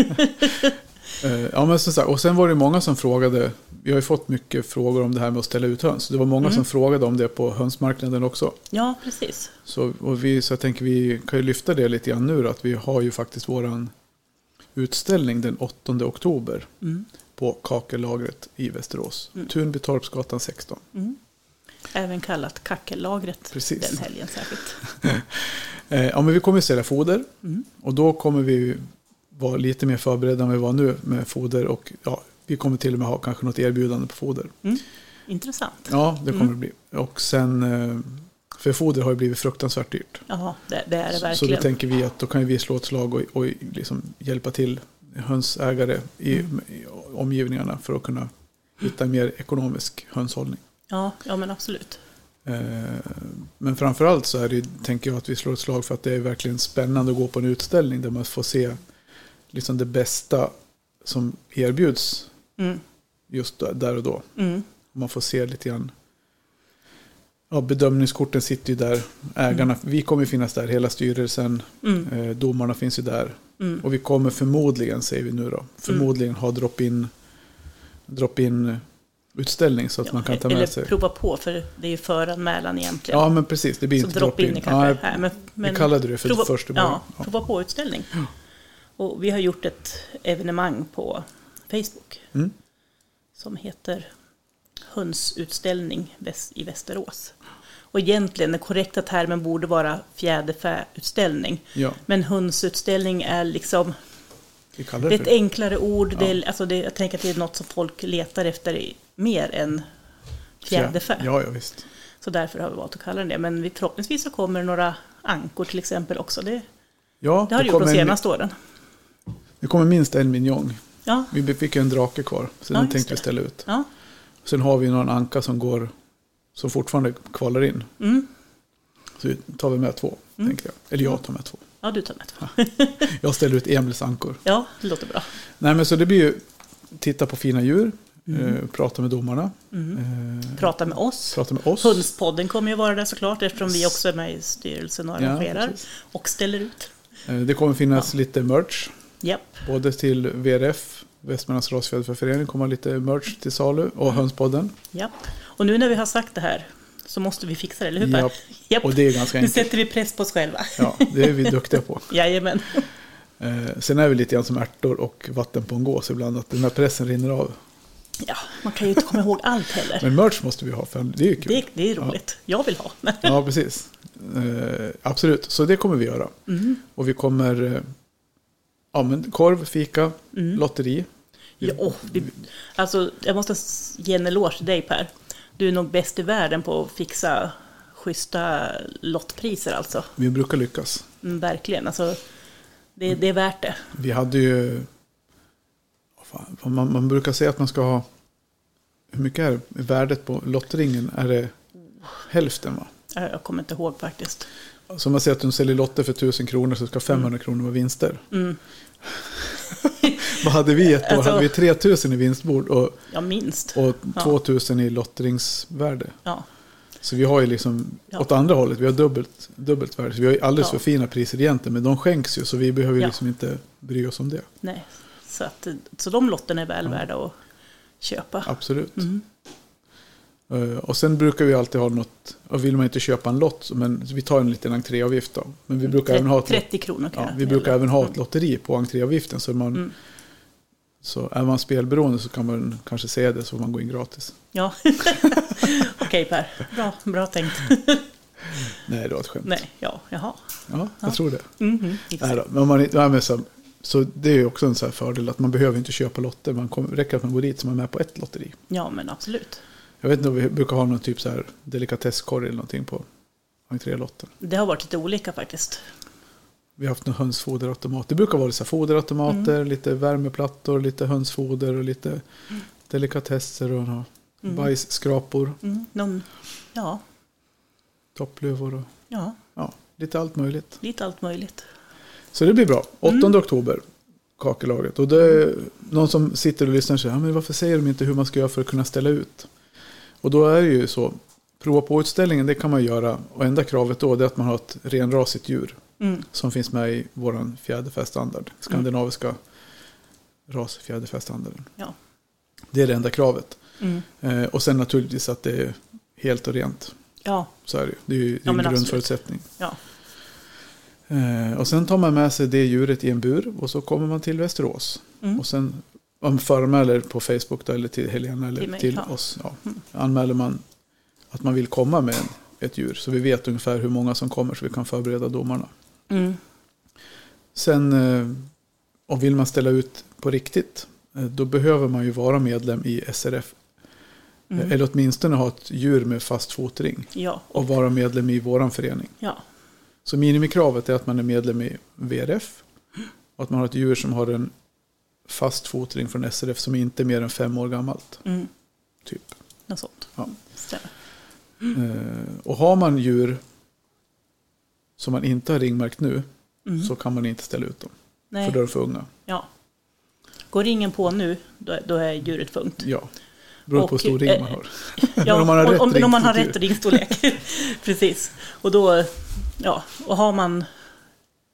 Speaker 2: Eh, Ja, men som sagt, och sen var det många som frågade, vi har ju fått mycket frågor om det här med att ställa ut höns. Det var många som frågade om det på hönsmarknaden också.
Speaker 1: ja, precis.
Speaker 2: Så, och vi, så jag tänker vi kan ju lyfta det lite grann nu då, att vi har ju faktiskt våran utställning den 8 oktober på Kakellagret i Västerås. Tunbytorpsgatan 16.
Speaker 1: Även kallat kackellagret
Speaker 2: Precis.
Speaker 1: den helgen särskilt.
Speaker 2: Eh, ja, men vi kommer ju sälja foder
Speaker 1: Mm.
Speaker 2: och då kommer vi vara lite mer förberedda än vi var nu med foder och ja, vi kommer till och med ha kanske något erbjudande på foder.
Speaker 1: Intressant.
Speaker 2: Ja, det kommer
Speaker 1: Mm.
Speaker 2: det bli. Och sen, eh, för foder har ju blivit fruktansvärt dyrt.
Speaker 1: Ja, det, det är det
Speaker 2: Så då
Speaker 1: verkligen.
Speaker 2: tänker vi att då kan ju vi slå ett slag och, och liksom hjälpa till hönsägare i, i omgivningarna för att kunna hitta en mer ekonomisk hönshållning.
Speaker 1: Ja, ja, men absolut.
Speaker 2: Eh, Men framförallt så är det, ju, tänker jag att vi slår ett slag för att det är verkligen spännande att gå på en utställning där man får se liksom det bästa som erbjuds
Speaker 1: Mm.
Speaker 2: just där- där och då.
Speaker 1: Mm.
Speaker 2: Man får se lite grann. Ja, bedömningskorten sitter ju där. Ägarna, Vi kommer ju finnas där, hela styrelsen.
Speaker 1: Mm.
Speaker 2: Eh, domarna finns ju där.
Speaker 1: Mm.
Speaker 2: Och vi kommer förmodligen, säger vi nu då, förmodligen ha drop-in drop in utställning så att man kan ta med
Speaker 1: Eller
Speaker 2: sig.
Speaker 1: prova på, för det är ju föranmälan egentligen.
Speaker 2: Ja, men precis. Det blir
Speaker 1: så
Speaker 2: inte
Speaker 1: drop in kanske.
Speaker 2: Ja,
Speaker 1: Nej, men, men
Speaker 2: vi kallade det för
Speaker 1: prova,
Speaker 2: först i början.
Speaker 1: ja,
Speaker 2: Ja.
Speaker 1: prova på-utställning. Och vi har gjort ett evenemang på Facebook
Speaker 2: Mm.
Speaker 1: som heter Hönsutställning väs- i Västerås. Och egentligen den korrekta termen borde vara fjäderfäutställning.
Speaker 2: Ja,
Speaker 1: Men hönsutställning är liksom,
Speaker 2: vi kallar
Speaker 1: det är
Speaker 2: det
Speaker 1: ett
Speaker 2: för det.
Speaker 1: enklare ord. Det är, alltså det, jag tänker att det är något som folk letar efter i- mer än fjäderfä.
Speaker 2: Ja, ja visst.
Speaker 1: Så därför har vi valt att kalla den det. Men vi, förhoppningsvis så kommer några ankor till exempel också. Det,
Speaker 2: Ja,
Speaker 1: det har det gjort de
Speaker 2: kommer, en,
Speaker 1: senaste åren.
Speaker 2: det kommer minst en minjong.
Speaker 1: Ja,
Speaker 2: Vi fick ju en drake kvar, så
Speaker 1: Ja,
Speaker 2: den
Speaker 1: just
Speaker 2: tänkte vi
Speaker 1: det.
Speaker 2: ställa ut.
Speaker 1: ja.
Speaker 2: Sen har vi någon anka som går, som fortfarande kvalar in.
Speaker 1: Mm.
Speaker 2: Så vi tar vi med två, tänkte jag. Eller jag tar med två.
Speaker 1: ja du tar med två.
Speaker 2: Jag ställer ut Emils ankor.
Speaker 1: Ja, det låter bra.
Speaker 2: Nej, men så det blir ju titta på fina djur,
Speaker 1: Mm.
Speaker 2: eh, prata med domarna, eh,
Speaker 1: Prata med oss.
Speaker 2: prata med oss.
Speaker 1: Hönspodden kommer ju vara där såklart eftersom vi också är med i styrelsen och
Speaker 2: Ja,
Speaker 1: arrangerar
Speaker 2: precis.
Speaker 1: och ställer ut.
Speaker 2: Eh, det kommer finnas lite merch.
Speaker 1: Japp,
Speaker 2: Både till VRF, Västmanlands rasfjäderförening, kommer lite merch till salu och hönspodden.
Speaker 1: japp. Och nu när vi har sagt det här så måste vi fixa det, eller hur Per?
Speaker 2: Japp. Och det är ganska
Speaker 1: Nu
Speaker 2: enkelt.
Speaker 1: sätter vi press på oss själva.
Speaker 2: Ja, det är vi duktiga på.
Speaker 1: Jajamän.
Speaker 2: Eh, sen är vi lite grann som ärtor och vatten på en gås ibland, att den här pressen rinner av.
Speaker 1: Ja, man kan ju inte komma ihåg allt heller.
Speaker 2: Men merch måste vi ha, för det är ju kul.
Speaker 1: Det, det är roligt. Jag vill ha.
Speaker 2: Ja, precis. Eh, absolut, så det kommer vi göra. Och vi kommer... Eh, ja, men korv, fika, lotteri.
Speaker 1: Ja, åh, det, alltså, jag måste s- ge en eloge till dig Per. Du är nog bäst i världen på att fixa schyssta lottpriser alltså.
Speaker 2: Vi brukar lyckas.
Speaker 1: Mm, verkligen, alltså, det, det är värt det.
Speaker 2: Vi hade ju... vad Fan, vad man, man brukar säga att man ska ha... Hur mycket är det? värdet på lottringen? Är det hälften? Va?
Speaker 1: Jag jag kommer inte ihåg faktiskt.
Speaker 2: Så om man säger
Speaker 1: Mm.
Speaker 2: att de säljer lotter för 1000 kronor så ska 500 kronor vara vinster. Vad hade vi ett år?
Speaker 1: Alltså-
Speaker 2: Hade vi 3000 i vinstbord och,
Speaker 1: Ja, minst.
Speaker 2: och
Speaker 1: Ja.
Speaker 2: 2000 i lottringsvärde?
Speaker 1: Ja.
Speaker 2: Så vi har ju liksom
Speaker 1: Ja.
Speaker 2: åt andra hållet, vi har dubbelt, dubbelt värde. Så vi har ju alldeles
Speaker 1: Ja.
Speaker 2: för fina priser egentligen, men de skänks ju. Så vi behöver ju
Speaker 1: Ja.
Speaker 2: liksom inte bry oss om det.
Speaker 1: Nej. Så, att, så de lotterna är väl värda att köpa.
Speaker 2: Absolut. Eh, Och sen brukar vi alltid ha något, och vill man inte köpa en lott, så- men vi tar en liten entréavgift då. Men
Speaker 1: Mm.
Speaker 2: vi brukar även ha ett,
Speaker 1: 30 kronor kan
Speaker 2: ja,
Speaker 1: jag
Speaker 2: vi brukar
Speaker 1: meddela.
Speaker 2: även ha ett lotteri på entréavgiften. Så, man, så är man spelberoende så kan man kanske säga det så får man gå in gratis.
Speaker 1: Ja. Okej Per, bra, bra tänkt.
Speaker 2: Nej, det var ett skämt.
Speaker 1: Nej, ja, jaha.
Speaker 2: Ja, jag tror det.
Speaker 1: Mhm,
Speaker 2: Nej
Speaker 1: exakt.
Speaker 2: då, men om man, inte- nej, men så, så det är ju också en så här fördel att man behöver inte köpa lotter. Man kommer, räcker att man går dit så man är med på ett lotteri.
Speaker 1: Ja, men absolut.
Speaker 2: Jag vet inte om vi brukar ha någon typ så här delikatesskorg eller någonting på entrélotten.
Speaker 1: Det har varit lite olika faktiskt.
Speaker 2: Vi har haft någon hönsfoderautomat. Det brukar vara lite så här foderautomater, lite värmeplattor, lite hönsfoder och lite delikatesser och några bajsskrapor,
Speaker 1: Mm, någon, ja,
Speaker 2: topplövor och
Speaker 1: ja,
Speaker 2: ja, lite allt möjligt.
Speaker 1: lite allt möjligt.
Speaker 2: Så det blir bra. 8 oktober, kakelaget. Och det är någon som sitter och lyssnar säger, ja, men varför säger de inte hur man ska göra för att kunna ställa ut? Och då är det ju så, prova på-utställningen, det kan man göra. Och enda kravet då det är att man har ett renrasigt djur.
Speaker 1: Mm.
Speaker 2: Som finns med i vår fjäderfästandard, skandinaviska rasfjäderfästandarden.
Speaker 1: Ja.
Speaker 2: Det är det enda kravet.
Speaker 1: Mm.
Speaker 2: Eh, och sen naturligtvis att det är helt och rent.
Speaker 1: Ja,
Speaker 2: Så är det ju. Det är ju det
Speaker 1: Ja,
Speaker 2: är en
Speaker 1: men absolut.
Speaker 2: grundförutsättning.
Speaker 1: ja,
Speaker 2: Eh, och sen tar man med sig det djuret i en bur och så kommer man till Västerås.
Speaker 1: Mm.
Speaker 2: Och sen man föranmäler på Facebook då, eller till Helena eller
Speaker 1: Till mig,
Speaker 2: till,
Speaker 1: ja. Mm.
Speaker 2: oss. Ja. Anmäler man att man vill komma med en, ett djur så vi vet ungefär hur många som kommer så vi kan förbereda domarna.
Speaker 1: mm.
Speaker 2: Sen eh, och vill man ställa ut på riktigt eh, då behöver man ju vara medlem i SRF. Eh,
Speaker 1: Mm.
Speaker 2: Eller åtminstone ha ett djur med fast fotring
Speaker 1: ja,
Speaker 2: och vara medlem i våran förening.
Speaker 1: ja,
Speaker 2: Så minimikravet är att man är medlem i VRF och att man har ett djur som har en fast fotring från SRF som inte är mer än fem år gammalt.
Speaker 1: Mm.
Speaker 2: Typ.
Speaker 1: något sånt.
Speaker 2: Ja.
Speaker 1: Stämmer.
Speaker 2: Eh, Och har man djur som man inte har ringmärkt nu så kan man inte ställa ut dem.
Speaker 1: Mm. Nej,
Speaker 2: För då är de för unga.
Speaker 1: ja. Går ringen på nu, då, då är djuret punkt.
Speaker 2: Ja. Beror
Speaker 1: Och,
Speaker 2: på hur stor ring
Speaker 1: eh,
Speaker 2: man har.
Speaker 1: Ja,
Speaker 2: Men
Speaker 1: om man har, om,
Speaker 2: rätt
Speaker 1: om man har rätt
Speaker 2: ringstorlek.
Speaker 1: ringstorlek. Precis. Och då, ja, och har man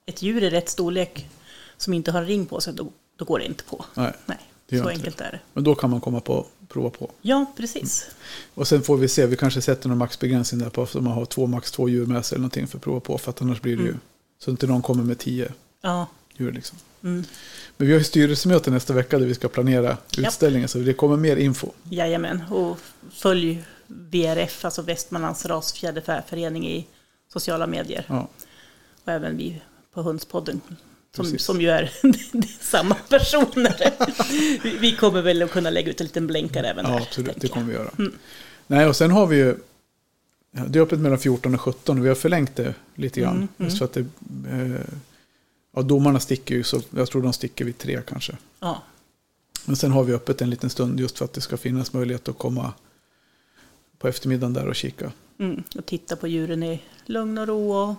Speaker 1: ett djur i rätt storlek som inte har en ring på sig, då, då går det inte på.
Speaker 2: Nej,
Speaker 1: Nej,
Speaker 2: det Mm. gör
Speaker 1: så
Speaker 2: inte
Speaker 1: enkelt är det.
Speaker 2: Men då kan man komma på prova på.
Speaker 1: Ja, precis.
Speaker 2: Och sen får vi se, vi kanske sätter någon maxbegränsning där på om man har två max två djur med sig eller någonting för att prova på. För att annars blir det
Speaker 1: Mm.
Speaker 2: ju så inte någon kommer med tio
Speaker 1: Ja,
Speaker 2: djur. Liksom.
Speaker 1: Mm.
Speaker 2: Men vi har ju styrelsemöte nästa vecka där vi ska planera utställningen så det kommer mer info.
Speaker 1: jajamän. Och följ VRF, alltså Västmanlands rasfjäderfäförening i sociala medier.
Speaker 2: Ja.
Speaker 1: Och även vi på Hundspodden. Som,
Speaker 2: Precis.
Speaker 1: som ju är samma personer. Vi- Vi kommer väl att kunna lägga ut en liten blänkare även
Speaker 2: Mm. ja,
Speaker 1: där. tänker
Speaker 2: absolut, det
Speaker 1: jag. Mm.
Speaker 2: kommer vi göra. Nej, och sen har vi ju ja, det är öppet mellan 14 och 17 och vi har förlängt det lite grann.
Speaker 1: Mm,
Speaker 2: Just för att det, eh, ja, domarna sticker ju, så jag tror de sticker vid tre kanske.
Speaker 1: Ja,
Speaker 2: Men sen har vi öppet en liten stund just för att det ska finnas möjlighet att komma på eftermiddagen där och kika.
Speaker 1: mm. Och titta på djuren i lugn och ro och,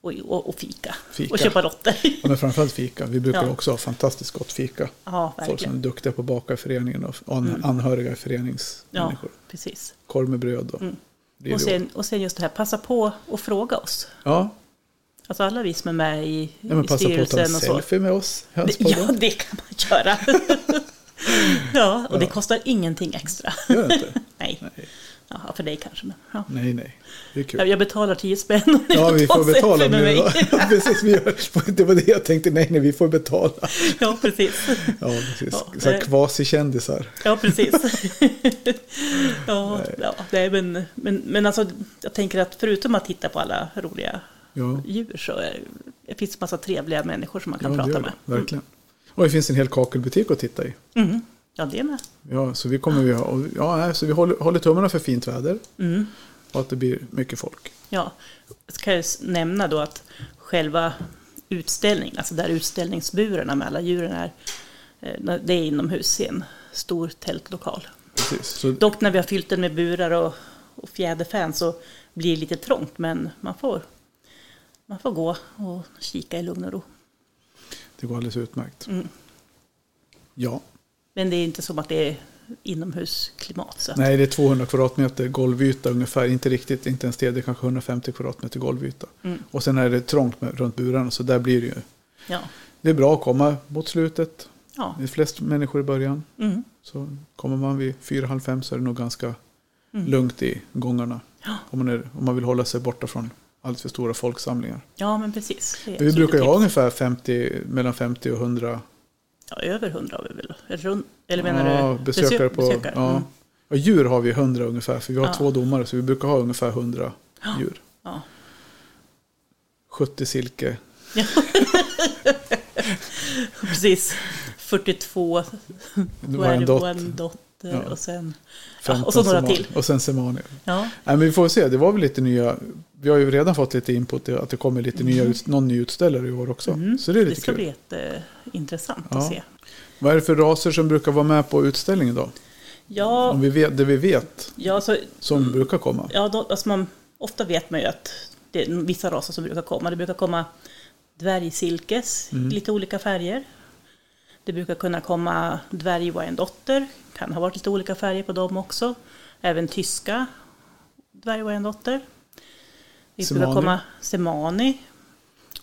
Speaker 1: och, och, och fika.
Speaker 2: Mm. Fika.
Speaker 1: Och köpa lotter.
Speaker 2: Ja, men framförallt fika. Vi brukar
Speaker 1: Ja.
Speaker 2: också ha fantastiskt gott fika.
Speaker 1: Ja,
Speaker 2: Folk som är
Speaker 1: verkligen. Mm.
Speaker 2: duktiga på att baka i föreningen och an- anhöriga i
Speaker 1: Ja,
Speaker 2: föreningsmänniskor.
Speaker 1: precis.
Speaker 2: Korv med bröd och det är
Speaker 1: Och
Speaker 2: det.
Speaker 1: sen, och sen just det här, passa på och fråga oss.
Speaker 2: Ja,
Speaker 1: Alltså alla vi som är med i,
Speaker 2: ja men
Speaker 1: i
Speaker 2: passa på att ta en
Speaker 1: styrelsen och så.
Speaker 2: selfie med oss.
Speaker 1: Det, ja,
Speaker 2: Hönspodden.
Speaker 1: det kan man göra. ja, och det kostar ingenting extra.
Speaker 2: Gör det inte?
Speaker 1: Nej. Ja, för dig kanske. Men, ja.
Speaker 2: Nej, nej. Det är kul.
Speaker 1: Jag- Jag betalar 10 spänn om ni
Speaker 2: Ja,
Speaker 1: vill
Speaker 2: vi
Speaker 1: ta
Speaker 2: får
Speaker 1: selfie
Speaker 2: betala
Speaker 1: med
Speaker 2: nu.
Speaker 1: mig.
Speaker 2: precis, vi gör, det var det jag tänkte. Nej, nej, vi får betala.
Speaker 1: ja, precis.
Speaker 2: Ja, precis.
Speaker 1: Ja, eh.
Speaker 2: så här
Speaker 1: det-
Speaker 2: kvasikändisar.
Speaker 1: Ja, precis. ja, ja, nej, men, men, men alltså, jag tänker att förutom att titta på alla roliga
Speaker 2: Ja.
Speaker 1: djur så är, det finns det massa trevliga människor som man kan
Speaker 2: ja, det
Speaker 1: prata
Speaker 2: gör
Speaker 1: med.
Speaker 2: det. Verkligen. Och det finns en hel kakelbutik att titta i.
Speaker 1: Mm. Ja, det med.
Speaker 2: Ja, så vi kommer ju ha, och- ja, nej, så vi håller, håller tummarna för fint väder.
Speaker 1: Mm.
Speaker 2: Och att det blir mycket folk.
Speaker 1: Ja, ska jag s- nämna då att själva utställningen, alltså där utställningsburarna med alla djuren är, eh, det är inomhus i en stor tältlokal.
Speaker 2: Precis. Så,
Speaker 1: Dock när vi har fyllt den med burar och, och fjäderfän så blir det lite trångt, men man får, man får gå och kika i lugn och ro. Mm.
Speaker 2: det går alldeles utmärkt. Ja.
Speaker 1: Men det är inte som att det är inomhusklimat. Så att,
Speaker 2: Nej, det är 200 kvadratmeter golvyta ungefär. Inte riktigt, inte ens det. Det är kanske 150 kvadratmeter golvyta.
Speaker 1: Mm.
Speaker 2: Och sen är det trångt med, runt burarna så där blir det ju.
Speaker 1: ja.
Speaker 2: Det är bra att komma mot slutet.
Speaker 1: Ja.
Speaker 2: Det är flest människor i början.
Speaker 1: Mm.
Speaker 2: Så kommer man vid fyra, halv fem så är det nog ganska
Speaker 1: Mm.
Speaker 2: lugnt i gångarna.
Speaker 1: Ja.
Speaker 2: Om, man är, om man vill hålla sig borta från allt för stora folksamlingar.
Speaker 1: ja, men precis. Det är
Speaker 2: Vi
Speaker 1: absolut
Speaker 2: brukar ju
Speaker 1: ett
Speaker 2: ha
Speaker 1: tips.
Speaker 2: ungefär 50, mellan 50 och 100
Speaker 1: Ja, över hundra har vi väl. Eller rund- Eller menar
Speaker 2: ja,
Speaker 1: du? besö-
Speaker 2: besökare. På,
Speaker 1: besökare?
Speaker 2: Ja.
Speaker 1: Mm.
Speaker 2: Ja, djur har vi 100 ungefär, för vi har
Speaker 1: Ja.
Speaker 2: två domare så vi brukar ha ungefär 100 djur.
Speaker 1: Ja.
Speaker 2: 70 silke,
Speaker 1: Precis. 42,
Speaker 2: det
Speaker 1: då
Speaker 2: var
Speaker 1: är
Speaker 2: en
Speaker 1: det
Speaker 2: dotter,
Speaker 1: en dotter
Speaker 2: Ja.
Speaker 1: och sen...
Speaker 2: 15
Speaker 1: och så några
Speaker 2: semanier.
Speaker 1: till.
Speaker 2: Och sen semanier.
Speaker 1: Ja,
Speaker 2: Nej, men vi får väl se, det var väl lite nya, vi har ju redan fått lite input i att det kommer lite nya, ut- någon ny utställare i år också.
Speaker 1: Mm.
Speaker 2: Så det är
Speaker 1: det
Speaker 2: lite
Speaker 1: ska
Speaker 2: kul.
Speaker 1: bli jätteintressant
Speaker 2: Ja.
Speaker 1: att se.
Speaker 2: Vad är det för raser som brukar vara med på utställningen då?
Speaker 1: Ja,
Speaker 2: Om vi vet, det vi vet
Speaker 1: ja, så,
Speaker 2: som brukar komma.
Speaker 1: ja då, alltså man, ofta vet man ju att det är vissa raser som brukar komma. Det brukar komma dvärgsilkes
Speaker 2: Mm.
Speaker 1: i lite olika färger. Det brukar kunna komma dvärgwyandotter, kan ha varit lite olika färger på dem också. Även tyska dvärgwyandotter. Det brukar
Speaker 2: Semani.
Speaker 1: komma semani,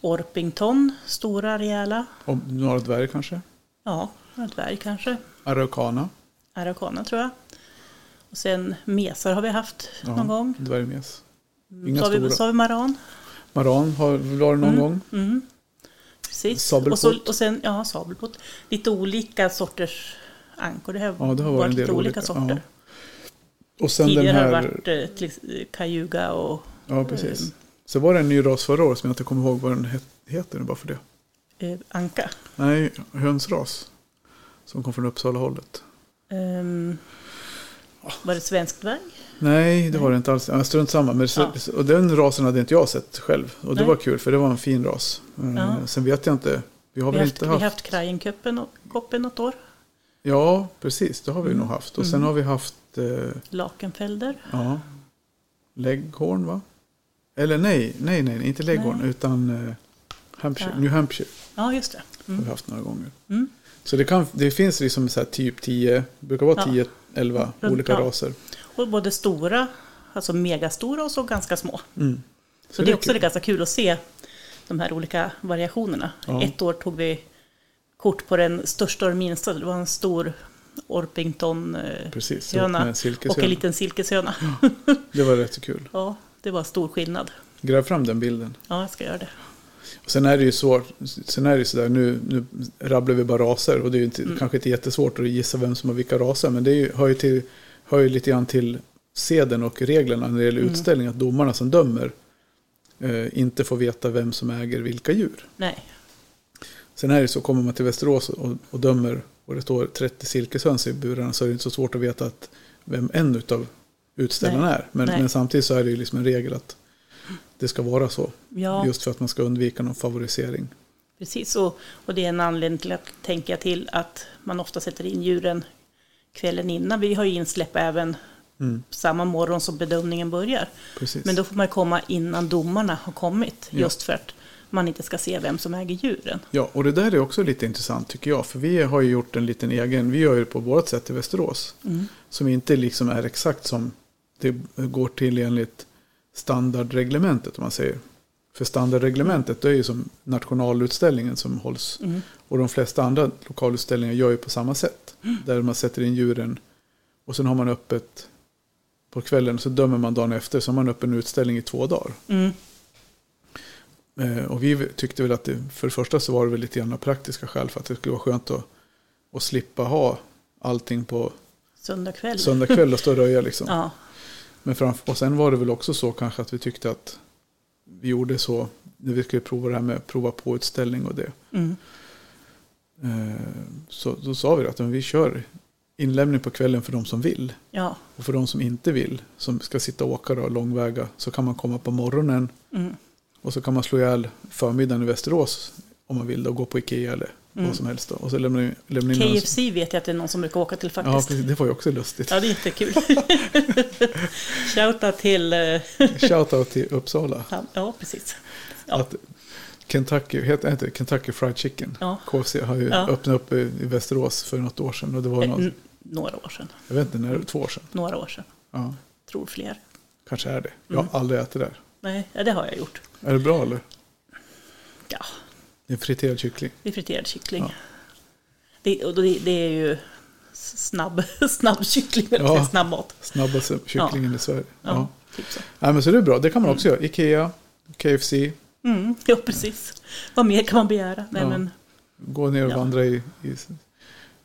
Speaker 1: orpington, stora rejäla,
Speaker 2: Om några dvärgar kanske?
Speaker 1: ja, några dvärg kanske.
Speaker 2: Araucana?
Speaker 1: Araucana tror jag. Och sen mesar har vi haft
Speaker 2: Ja,
Speaker 1: någon gång.
Speaker 2: Dvärgmes.
Speaker 1: Så
Speaker 2: Inga
Speaker 1: har vi,
Speaker 2: stora.
Speaker 1: så har vi maran.
Speaker 2: Maran har vi någon gång.
Speaker 1: Mm. Precis.
Speaker 2: Sabelpot.
Speaker 1: Och, så, och sen, ja, sabelpot. Lite olika sorters ankor. Det har,
Speaker 2: Ja, det har varit
Speaker 1: varit
Speaker 2: en del
Speaker 1: lite olika,
Speaker 2: olika,
Speaker 1: sorter.
Speaker 2: Och sen
Speaker 1: Tidigare
Speaker 2: den här...
Speaker 1: har det varit eh, till, ex- kajuga och
Speaker 2: ja, precis.
Speaker 1: Mm.
Speaker 2: Så var det en ny ras förra året som jag inte kommer ihåg vad den het- heter nu bara för det.
Speaker 1: eh, anka.
Speaker 2: Nej, hönsras. Som kom från Uppsala-hållet.
Speaker 1: Ehm,
Speaker 2: Ah.
Speaker 1: var det svensk dvärg?
Speaker 2: Nej, det var det inte alls. Ja, strunt samma. Men så, Och den rasen hade inte jag sett själv. Och det
Speaker 1: Nej.
Speaker 2: var kul för det var en fin ras. Eh,
Speaker 1: Ja.
Speaker 2: Sen vet jag inte. Vi har
Speaker 1: Vi
Speaker 2: väl
Speaker 1: har haft,
Speaker 2: inte
Speaker 1: vi
Speaker 2: haft...
Speaker 1: har haft krajenkoppen och koppen något år.
Speaker 2: Ja, precis. Det har vi
Speaker 1: Mm.
Speaker 2: nog haft. Och sen har vi haft... Eh,
Speaker 1: Lakenfelder.
Speaker 2: Ja. Leghorn va? Eller nej, nej, nej, nej, inte Leghorn
Speaker 1: Nej.
Speaker 2: utan eh, Hampshire,
Speaker 1: Ja.
Speaker 2: New Hampshire
Speaker 1: Ja, just det.
Speaker 2: har vi haft några gånger.
Speaker 1: Mm.
Speaker 2: Så det, kan, det finns liksom så här typ 10, brukar vara
Speaker 1: Ja.
Speaker 2: 10, 11
Speaker 1: Runt,
Speaker 2: olika
Speaker 1: ja.
Speaker 2: raser.
Speaker 1: Och både stora, alltså megastora och så ganska små.
Speaker 2: Mm.
Speaker 1: Så det är också det ganska kul att se de här olika variationerna.
Speaker 2: Ja.
Speaker 1: Ett år tog vi kort på den största och den minsta. Det var en stor orpingtonhöna
Speaker 2: Precis, ihop med en
Speaker 1: och en
Speaker 2: silkeshöna.
Speaker 1: liten silkeshöna.
Speaker 2: Det var rätt så kul.
Speaker 1: Ja, det var stor skillnad.
Speaker 2: Gräv fram den bilden.
Speaker 1: Ja, jag ska göra det.
Speaker 2: Och sen är det ju svårt, sen är det ju sådär, nu, nu rabblar vi bara raser och det är ju inte, kanske inte jättesvårt att gissa vem som har vilka raser men det är ju, hör, ju till, hör ju lite grann till seden och reglerna när det gäller utställning att domarna som dömer eh, inte får veta vem som äger vilka djur.
Speaker 1: Nej,
Speaker 2: Sen är det ju så, kommer man till Västerås och, och dömer och det står 30 silkeshöns i burarna så är det inte så svårt att veta att vem en av utställarna
Speaker 1: Nej.
Speaker 2: är. Men,
Speaker 1: Nej.
Speaker 2: men samtidigt så är det ju liksom en regel att det ska vara så.
Speaker 1: ja,
Speaker 2: Just för att man ska undvika någon favorisering.
Speaker 1: precis. Och, och det är en anledning till att tänka till att man ofta sätter in djuren kvällen innan. Vi har ju insläpp även
Speaker 2: Mm.
Speaker 1: samma morgon som bedömningen börjar.
Speaker 2: Precis.
Speaker 1: Men då får man ju komma innan domarna har kommit.
Speaker 2: Ja.
Speaker 1: Just för att man inte ska se vem som äger djuren.
Speaker 2: Ja, och det där är också lite intressant tycker jag. För vi har ju gjort en liten egen, vi gör ju det på vårt sätt i Västerås. Som inte liksom är exakt som det går till enligt standardreglementet om man säger. För standardreglementet det är ju som nationalutställningen som hålls. Och de flesta andra lokalutställningar gör ju på samma sätt. Där man sätter in djuren och sen har man öppet på kvällen. Så dömer man dagen efter så har man öppen utställning i två dagar.
Speaker 1: Mm.
Speaker 2: Eh, Och vi tyckte väl att det, för det första så var det väl lite grann av praktiska skäl för att det skulle vara skönt att, att slippa ha allting på
Speaker 1: Söndag kväll.
Speaker 2: söndag kväll och stå och röja liksom.
Speaker 1: Ja,
Speaker 2: Men framför, och sen var det väl också så kanske att vi tyckte att vi gjorde så när vi skulle prova det här med prova på utställning och det.
Speaker 1: mm.
Speaker 2: Eh, Så då sa vi att men vi kör inlämning på kvällen för de som vill.
Speaker 1: ja,
Speaker 2: Och för de som inte vill, som ska sitta och åka då, långväga, så kan man komma på morgonen
Speaker 1: mm.
Speaker 2: Och så kan man slå ihjäl förmiddagen i Västerås om man vill då, gå på Ikea eller
Speaker 1: Mm.
Speaker 2: vad som helst. Då. Och så lämnar in, lämnar in någon-
Speaker 1: KFC vet jag att det är någon som brukar åka till
Speaker 2: Ja,
Speaker 1: faktiskt. Ja,
Speaker 2: precis, det var ju också lustigt.
Speaker 1: det är jättekul. Shoutout till... eh,
Speaker 2: Shoutout till Uppsala.
Speaker 1: Ja, precis. Ja.
Speaker 2: Att Kentucky, heter, heter det Kentucky Fried Chicken,
Speaker 1: Ja.
Speaker 2: KFC, har ju
Speaker 1: Ja.
Speaker 2: öppnat upp i i Västerås för något år sedan. Och det var
Speaker 1: Eh,
Speaker 2: något,
Speaker 1: n- Några år sedan.
Speaker 2: jag vet inte när, två år sedan.
Speaker 1: Några år sedan.
Speaker 2: Ja,
Speaker 1: Tror fler.
Speaker 2: kanske är det. Jag har
Speaker 1: Mm.
Speaker 2: aldrig ätit där.
Speaker 1: Nej, ja, det har jag gjort.
Speaker 2: Är det bra eller?
Speaker 1: Ja,
Speaker 2: Det är friterad kyckling.
Speaker 1: det är friterad kyckling.
Speaker 2: Ja.
Speaker 1: Det, och det, det är ju s- snabb, snabb kyckling,
Speaker 2: Ja.
Speaker 1: ja. snabbmat.
Speaker 2: Snabbaste kycklingen i Sverige.
Speaker 1: Ja,
Speaker 2: Ja.
Speaker 1: Typ så.
Speaker 2: Nej, men så det är bra, det kan man också göra. Ikea, KFC,
Speaker 1: Mm, ja, precis. Vad mer kan man begära? Nej,
Speaker 2: Ja.
Speaker 1: men,
Speaker 2: gå ner och
Speaker 1: Ja.
Speaker 2: vandra i, i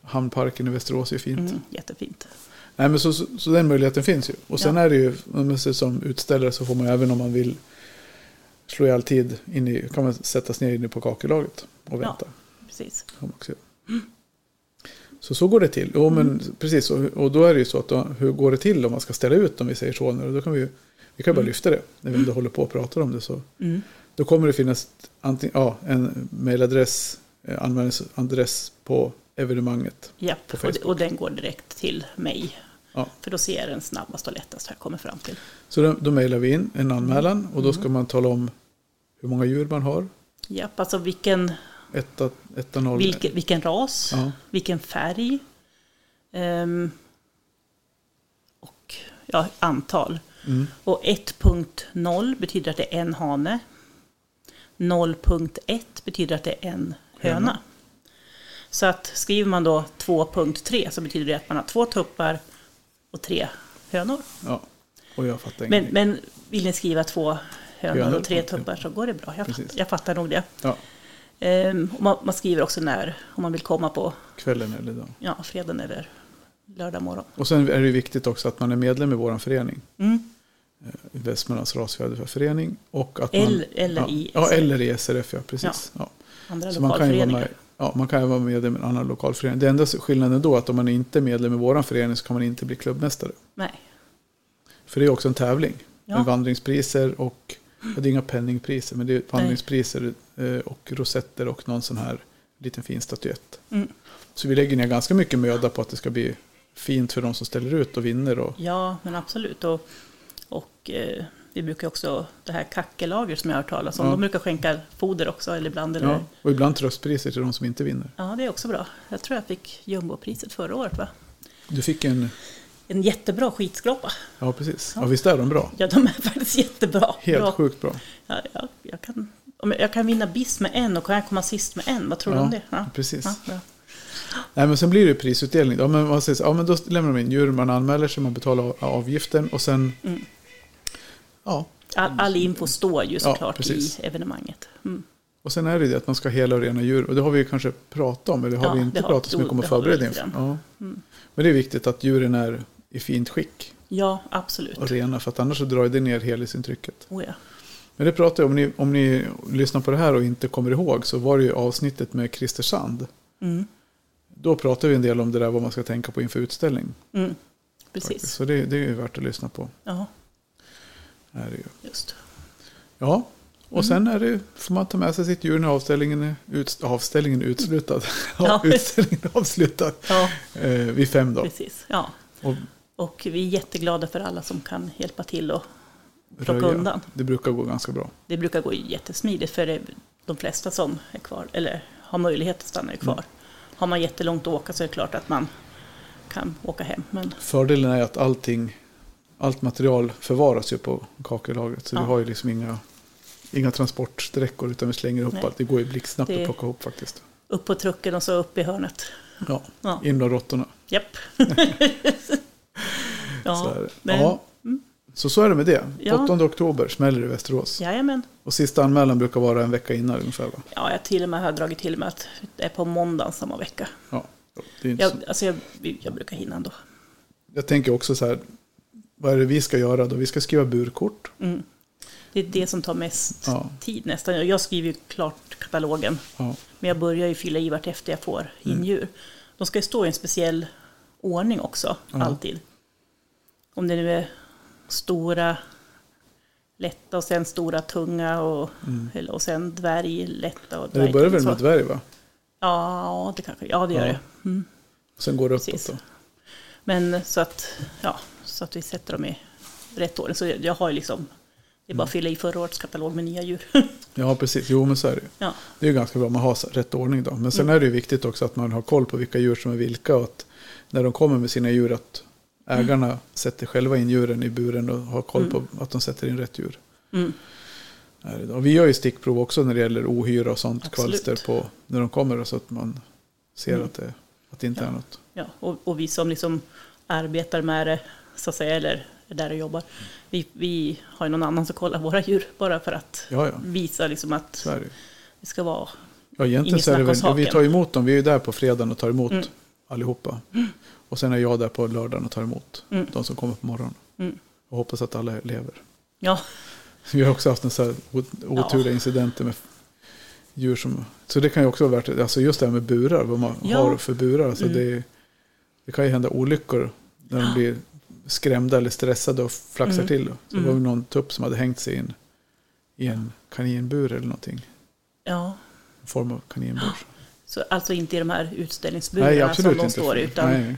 Speaker 2: Hamnparken i Västerås är fint.
Speaker 1: mm, jättefint.
Speaker 2: Nej, men så, så, så den möjligheten finns ju. Och sen
Speaker 1: Ja.
Speaker 2: är det ju, om man ser som utställare så får man även om man vill slå ihjäl tid, in i, kan man sättas ner inne på kakelaget och vänta.
Speaker 1: Precis.
Speaker 2: Kan man också göra. Så så går det till. Jo, men
Speaker 1: Mm.
Speaker 2: precis. Och, och då är det ju så att då, hur går det till om man ska ställa ut om vi säger så nu? Och Då kan vi ju vi kan ju bara lyfta det när vi ändå håller på och pratar om det. Så.
Speaker 1: Mm.
Speaker 2: Då kommer det finnas antingen, ja, en mailadress, eh, anmälningsadress på evenemanget.
Speaker 1: Japp,
Speaker 2: På
Speaker 1: och,
Speaker 2: Facebook.
Speaker 1: och den går direkt till mig.
Speaker 2: Ja.
Speaker 1: För då ser jag den snabbast och lättast har jag kommit fram till.
Speaker 2: Så då, då mejlar vi in en anmälan och
Speaker 1: Mm.
Speaker 2: då ska man tala om hur många djur man har.
Speaker 1: Japp, alltså vilken,
Speaker 2: Etta, etta noll.
Speaker 1: vilken, vilken ras,
Speaker 2: Ja.
Speaker 1: vilken färg ehm, och ja, antal.
Speaker 2: Mm.
Speaker 1: Och 1.0 betyder att det är en hane. 0.1 betyder att det är en höna.
Speaker 2: Höna.
Speaker 1: Så att skriver man då 2.3 så betyder det att man har två tuppar och tre hönor.
Speaker 2: Ja. Och jag fattar
Speaker 1: Men,
Speaker 2: ingenting.
Speaker 1: men vill ni skriva två hönor
Speaker 2: Hönor.
Speaker 1: och tre tuppar så går det bra. Jag,
Speaker 2: Precis.
Speaker 1: fattar, jag fattar nog det.
Speaker 2: Ja,
Speaker 1: Ehm, och man, man skriver också när, om man vill komma på
Speaker 2: kvällen eller dagen.
Speaker 1: ja, fredag eller lördag morgon.
Speaker 2: Och sen är det viktigt också att man är medlem i vår förening.
Speaker 1: Mm.
Speaker 2: Västmanlands rasfjäderförening. Och att man,
Speaker 1: Eller, eller
Speaker 2: ja,
Speaker 1: i
Speaker 2: Ja, eller i SRF, ja precis. Ja.
Speaker 1: andra
Speaker 2: Så man kan, ju vara
Speaker 1: lokalföreningar.
Speaker 2: med, ja, man kan ju vara medlem i en annan lokalförening. Det enda skillnaden då är att om man inte är medlem i vår förening så kan man inte bli klubbmästare.
Speaker 1: Nej.
Speaker 2: För det är också en tävling.
Speaker 1: Ja.
Speaker 2: Med vandringspriser och, ja, det är inga penningpriser, men det är vandringspriser eh, och rosetter och någon sån här liten fin statyett.
Speaker 1: Mm.
Speaker 2: Så vi lägger ner ganska mycket möda på att det ska bli fint för de som ställer ut och vinner. Och,
Speaker 1: Ja, men absolut. Och, och eh, vi brukar också, det här kackelager som jag har hört talas om,
Speaker 2: Ja.
Speaker 1: de brukar skänka foder också, eller ibland. Eller,
Speaker 2: ja,
Speaker 1: ja.
Speaker 2: och ibland tröstpriser till de som inte vinner.
Speaker 1: det är också bra. Jag tror jag fick jumbopriset förra året, va?
Speaker 2: Du fick en,
Speaker 1: En jättebra skitskrapa.
Speaker 2: ja precis, ja visst är de bra.
Speaker 1: Ja, de är faktiskt jättebra.
Speaker 2: Helt
Speaker 1: bra.
Speaker 2: sjukt bra.
Speaker 1: Ja, jag, jag, kan, om jag, jag kan vinna BIS med en och kan jag komma sist med en. Vad tror du
Speaker 2: Ja,
Speaker 1: om det? Ja.
Speaker 2: precis.
Speaker 1: Ja, ja.
Speaker 2: Nej, men sen blir det ju prisutdelning. Ja, men, vad sägs, ja, men då lämnar de in djur, man anmäler sig, man betalar av- avgiften och sen...
Speaker 1: Mm.
Speaker 2: Ja,
Speaker 1: All, all info står ju såklart
Speaker 2: precis.
Speaker 1: i evenemanget. Mm.
Speaker 2: och sen är det ju det att man ska ha hela och rena djur. Och det har vi ju kanske pratat om, eller har
Speaker 1: Ja,
Speaker 2: vi
Speaker 1: det
Speaker 2: inte
Speaker 1: har-
Speaker 2: pratat så mycket om i
Speaker 1: det har vi
Speaker 2: förberedningen?
Speaker 1: lite Mm.
Speaker 2: Ja. Men det är viktigt att djuren är i fint skick
Speaker 1: Ja, absolut.
Speaker 2: och rena, för att annars så drar det ner helhetsintrycket.
Speaker 1: Oh, ja.
Speaker 2: Men det pratar jag om, ni, om ni lyssnar på det här och inte kommer ihåg så var det ju avsnittet med Christer Sand.
Speaker 1: Mm.
Speaker 2: Då pratade vi en del om det där vad man ska tänka på inför utställning.
Speaker 1: Mm. Precis.
Speaker 2: Så det, det är ju värt att lyssna på.
Speaker 1: Ja,
Speaker 2: Är det ju.
Speaker 1: just.
Speaker 2: Ja,
Speaker 1: Mm.
Speaker 2: och sen är det, får man ta med sig sitt djur när avställningen är, ut, avställningen är utslutad. Ja.
Speaker 1: Ja.
Speaker 2: utställningen är avslutad
Speaker 1: Ja,
Speaker 2: eh, vid fem då.
Speaker 1: precis. Ja.
Speaker 2: Och
Speaker 1: Och vi är jätteglada för alla som kan hjälpa till. Och Plocka
Speaker 2: röja.
Speaker 1: undan.
Speaker 2: Det brukar gå ganska bra.
Speaker 1: det brukar gå jättesmidigt för det är de flesta som är kvar, eller har möjlighet att
Speaker 2: Mm.
Speaker 1: stanna kvar. Har man jättelångt att åka så är det klart att man kan åka hem. Men
Speaker 2: Fördelen är att allting, allt material förvaras ju på kakelagret. Så
Speaker 1: Ja.
Speaker 2: vi har ju liksom inga, inga transportsträckor utan vi slänger upp
Speaker 1: Nej.
Speaker 2: allt. Det går ju blixtsnabbt
Speaker 1: Det-
Speaker 2: att plocka ihop faktiskt.
Speaker 1: upp på trucken och så upp i hörnet.
Speaker 2: Ja,
Speaker 1: Ja.
Speaker 2: in bland råttorna.
Speaker 1: Japp.
Speaker 2: Så,
Speaker 1: ja,
Speaker 2: är det.
Speaker 1: men- Mm.
Speaker 2: ja. så så är det med det.
Speaker 1: Ja.
Speaker 2: 8 oktober smäller det i Västerås.
Speaker 1: Jajamän.
Speaker 2: Och sista anmälan brukar vara en vecka innan ungefär va?
Speaker 1: Ja, jag till och med har dragit till med att det är på måndagen samma vecka.
Speaker 2: Ja, det är inte så.
Speaker 1: Jag, alltså jag, jag brukar hinna ändå.
Speaker 2: Jag tänker också så här, vad är det vi ska göra då? Vi ska skriva burkort.
Speaker 1: Mm. Det är det som tar mest
Speaker 2: Ja.
Speaker 1: tid nästan. Jag- Jag skriver ju klart katalogen,
Speaker 2: Ja.
Speaker 1: men jag börjar ju fylla i vart efter jag får
Speaker 2: Mm.
Speaker 1: in djur. De ska ju stå i en speciell ordning också, alltid. Om det nu är stora, lätta och sen stora, tunga och, eller, och sen dvärg, lätta och
Speaker 2: Men det Mm. börjar väl
Speaker 1: så.
Speaker 2: med dvärg va?
Speaker 1: Ja, det kanske, ja det gör
Speaker 2: Ja.
Speaker 1: det. Mm.
Speaker 2: Sen går det uppåt
Speaker 1: Precis.
Speaker 2: då.
Speaker 1: Men så att, ja, så att vi sätter dem i rätt ordning. Så jag, jag har ju liksom, Det är
Speaker 2: Mm.
Speaker 1: bara att fylla i förra årets katalog med nya djur.
Speaker 2: Ja, precis. Jo, men så är det ju.
Speaker 1: Ja.
Speaker 2: Det är ju ganska bra om man har rätt ordning då. Men sen
Speaker 1: Mm.
Speaker 2: är det ju viktigt också att man har koll på vilka djur som är vilka och att när de kommer med sina djur att
Speaker 1: Mm.
Speaker 2: ägarna sätter själva in djuren i buren och har koll på att de sätter in rätt djur.
Speaker 1: Mm.
Speaker 2: Är det då. Och Vi gör ju stickprov också när det gäller ohyra och sånt,
Speaker 1: Absolut. Mm.
Speaker 2: kvalster på när de kommer då, så att man ser att, det, att det inte är något.
Speaker 1: Ja, och, och vi som liksom arbetar med det, så att säga, eller är där och jobbar, vi, vi har ju någon annan som kollar våra djur bara för att
Speaker 2: Ja, ja.
Speaker 1: visa liksom att
Speaker 2: Så är det ju.
Speaker 1: det ska vara...
Speaker 2: Ja, egentligen
Speaker 1: Inget
Speaker 2: så är det
Speaker 1: snack om
Speaker 2: väl, ja,
Speaker 1: saken.
Speaker 2: vi tar emot dem, vi är ju där på fredagen och tar emot
Speaker 1: Mm.
Speaker 2: allihopa. Och sen är jag där på lördagen och tar emot
Speaker 1: Mm.
Speaker 2: de som kommer på morgonen.
Speaker 1: Mm.
Speaker 2: Och hoppas att alla lever.
Speaker 1: Ja,
Speaker 2: Vi har också haft en så här ot- oturliga incidenter med djur som... Så det kan ju också vara värt det. Alltså just det här med burar, vad man
Speaker 1: Ja. Mm.
Speaker 2: har för burar. Alltså det, det kan ju hända olyckor när de blir skrämda eller stressade och flaxar
Speaker 1: Mm.
Speaker 2: till. Så det var
Speaker 1: Mm.
Speaker 2: väl någon tupp som hade hängt sig in i en kaninbur eller någonting.
Speaker 1: ja.
Speaker 2: En form av kaninbur.
Speaker 1: Så alltså inte i de här utställningsburarna
Speaker 2: Nej,
Speaker 1: som
Speaker 2: absolut
Speaker 1: de
Speaker 2: inte.
Speaker 1: står i,
Speaker 2: för-
Speaker 1: utan,
Speaker 2: nej.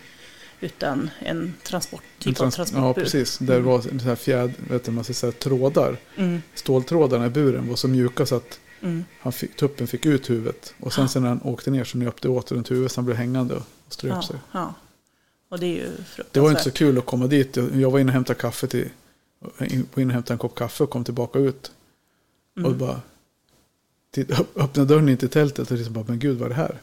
Speaker 1: utan en transport, typ
Speaker 2: En
Speaker 1: av
Speaker 2: trans-
Speaker 1: transportbur.
Speaker 2: Ja, precis. Där var en sån här fjäd, vet du, en massa så här trådar.
Speaker 1: Mm,
Speaker 2: Ståltrådarna i buren var så mjuka så att
Speaker 1: mm.
Speaker 2: han fick, tuppen fick ut huvudet. Och sen, sen när han åkte ner så nöp det åt runt huvudet så han blev hängande och ströp
Speaker 1: Ja,
Speaker 2: sig.
Speaker 1: ja. Och det är ju fruktansvärt.
Speaker 2: Det var inte så kul att komma dit. Jag jag var inne och hämtade kaffe till, in- var inne och hämtade en kopp kaffe och kom tillbaka ut. Och bara titt, öpp- öppnade dörren in till tältet och liksom bara, men gud vad är det här?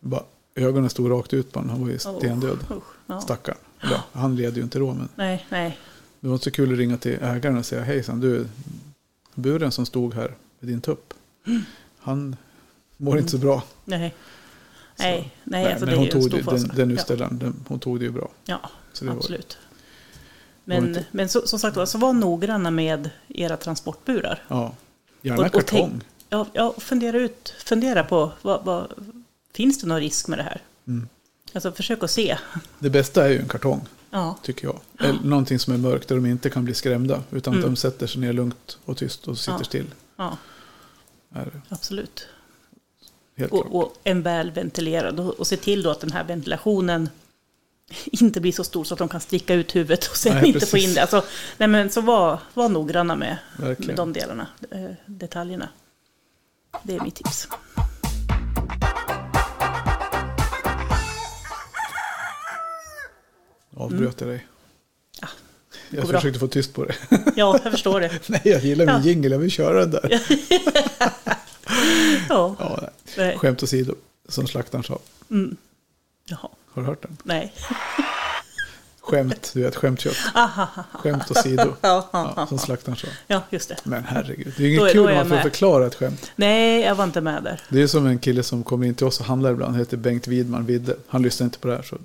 Speaker 2: Bara, ögonen stod rakt ut på honom. Han var ju
Speaker 1: Oh,
Speaker 2: stendöd.
Speaker 1: usch, ja.
Speaker 2: Stackarn. Eller, ja, han led ju inte då men.
Speaker 1: Nej, nej.
Speaker 2: Det var inte så kul att ringa till ägaren och säga hejsan, du, buren som stod här med din tupp, han mår inte så bra.
Speaker 1: Nej,
Speaker 2: Så,
Speaker 1: nej, nej, alltså det
Speaker 2: men hon
Speaker 1: är ju en
Speaker 2: tog
Speaker 1: stor
Speaker 2: det,
Speaker 1: fasa.
Speaker 2: den, den
Speaker 1: ja,
Speaker 2: utställaren, den, hon tog det ju bra.
Speaker 1: ja
Speaker 2: Så det var-
Speaker 1: absolut.
Speaker 2: det var
Speaker 1: Men,
Speaker 2: inte-
Speaker 1: men så, som sagt var, så var noggranna med era transportburar.
Speaker 2: Ja, gärna
Speaker 1: Och- och
Speaker 2: kartong.
Speaker 1: tänk- Ja, ja och fundera, ut, fundera på, vad, vad, finns det någon risk med det här?
Speaker 2: Mm.
Speaker 1: Alltså försök att se.
Speaker 2: Det bästa är ju en kartong,
Speaker 1: Ja, Mm.
Speaker 2: tycker jag. Eller någonting som är mörkt där de inte kan bli skrämda, utan att de sätter sig ner lugnt och tyst och sitter
Speaker 1: Ja.
Speaker 2: still.
Speaker 1: ja
Speaker 2: Är det
Speaker 1: absolut.
Speaker 2: helt klart.
Speaker 1: Och, och en väl ventilerad. Och, och se till då att den här ventilationen inte blir så stor så att de kan sticka ut huvudet och sen
Speaker 2: Nej,
Speaker 1: inte få
Speaker 2: precis.
Speaker 1: in det. Alltså, nej men så var, var noggranna med, med
Speaker 2: Verkligen.
Speaker 1: de delarna, eh, detaljerna. Det är mitt tips.
Speaker 2: Avbröt jag dig?
Speaker 1: mm. Ja,
Speaker 2: Jag
Speaker 1: går bra.
Speaker 2: försökte få tyst på det.
Speaker 1: Ja, jag förstår det.
Speaker 2: Nej, jag gillar min
Speaker 1: Ja.
Speaker 2: jingle, jag vill köra den där.
Speaker 1: Ja, eh,
Speaker 2: Ja, nej.
Speaker 1: nej.
Speaker 2: Skämt åsido, som slaktaren sa.
Speaker 1: Jaha,
Speaker 2: Har du hört den?
Speaker 1: nej.
Speaker 2: Skämt, du vet skämtkött. Skämt åsido. Ja, som slaktaren sa.
Speaker 1: Ja, just det.
Speaker 2: Men herregud, det är ju
Speaker 1: Då
Speaker 2: inget
Speaker 1: är-
Speaker 2: kul
Speaker 1: då är
Speaker 2: om man
Speaker 1: jag
Speaker 2: får
Speaker 1: med.
Speaker 2: förklara ett skämt.
Speaker 1: Nej, jag var inte med där.
Speaker 2: Det är som en kille som kommer in till oss och handlar ibland, han heter Bengt Widman Vidde. Han lyssnar inte på det här. Så,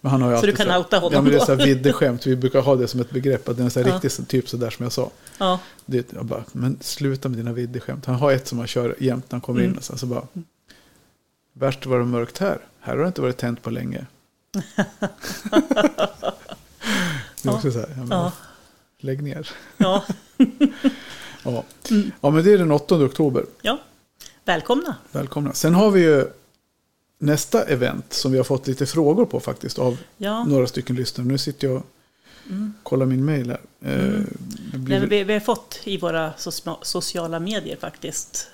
Speaker 2: men han har ju
Speaker 1: Så
Speaker 2: alltid
Speaker 1: du kan
Speaker 2: här-
Speaker 1: outa honom
Speaker 2: Ja, men det är
Speaker 1: då?
Speaker 2: så här Vidde-skämt, vi brukar ha det som ett begrepp. Att den är så här
Speaker 1: Ja.
Speaker 2: riktigt så- typ så där som jag sa.
Speaker 1: Ja,
Speaker 2: Det, är- jag bara, men sluta med dina Vidde-skämt. Han har ett som han kör jämt när han kommer
Speaker 1: Mm.
Speaker 2: in. Och så, så bara, värst var det mörkt här. Här har det inte varit tänt på länge. det är också så här, ja, men,
Speaker 1: ja,
Speaker 2: lägg ner.
Speaker 1: ja,
Speaker 2: Ja.
Speaker 1: Mm.
Speaker 2: ja, men det är den 8 oktober.
Speaker 1: ja. Välkomna.
Speaker 2: Välkomna. Sen har vi ju nästa event som vi har fått lite frågor på faktiskt av
Speaker 1: Ja.
Speaker 2: några stycken lyssnare. Nu sitter jag och kollar min mail här. Eh, det blir-
Speaker 1: Nej, men Mm. vi, vi har fått i våra sosma- sociala medier faktiskt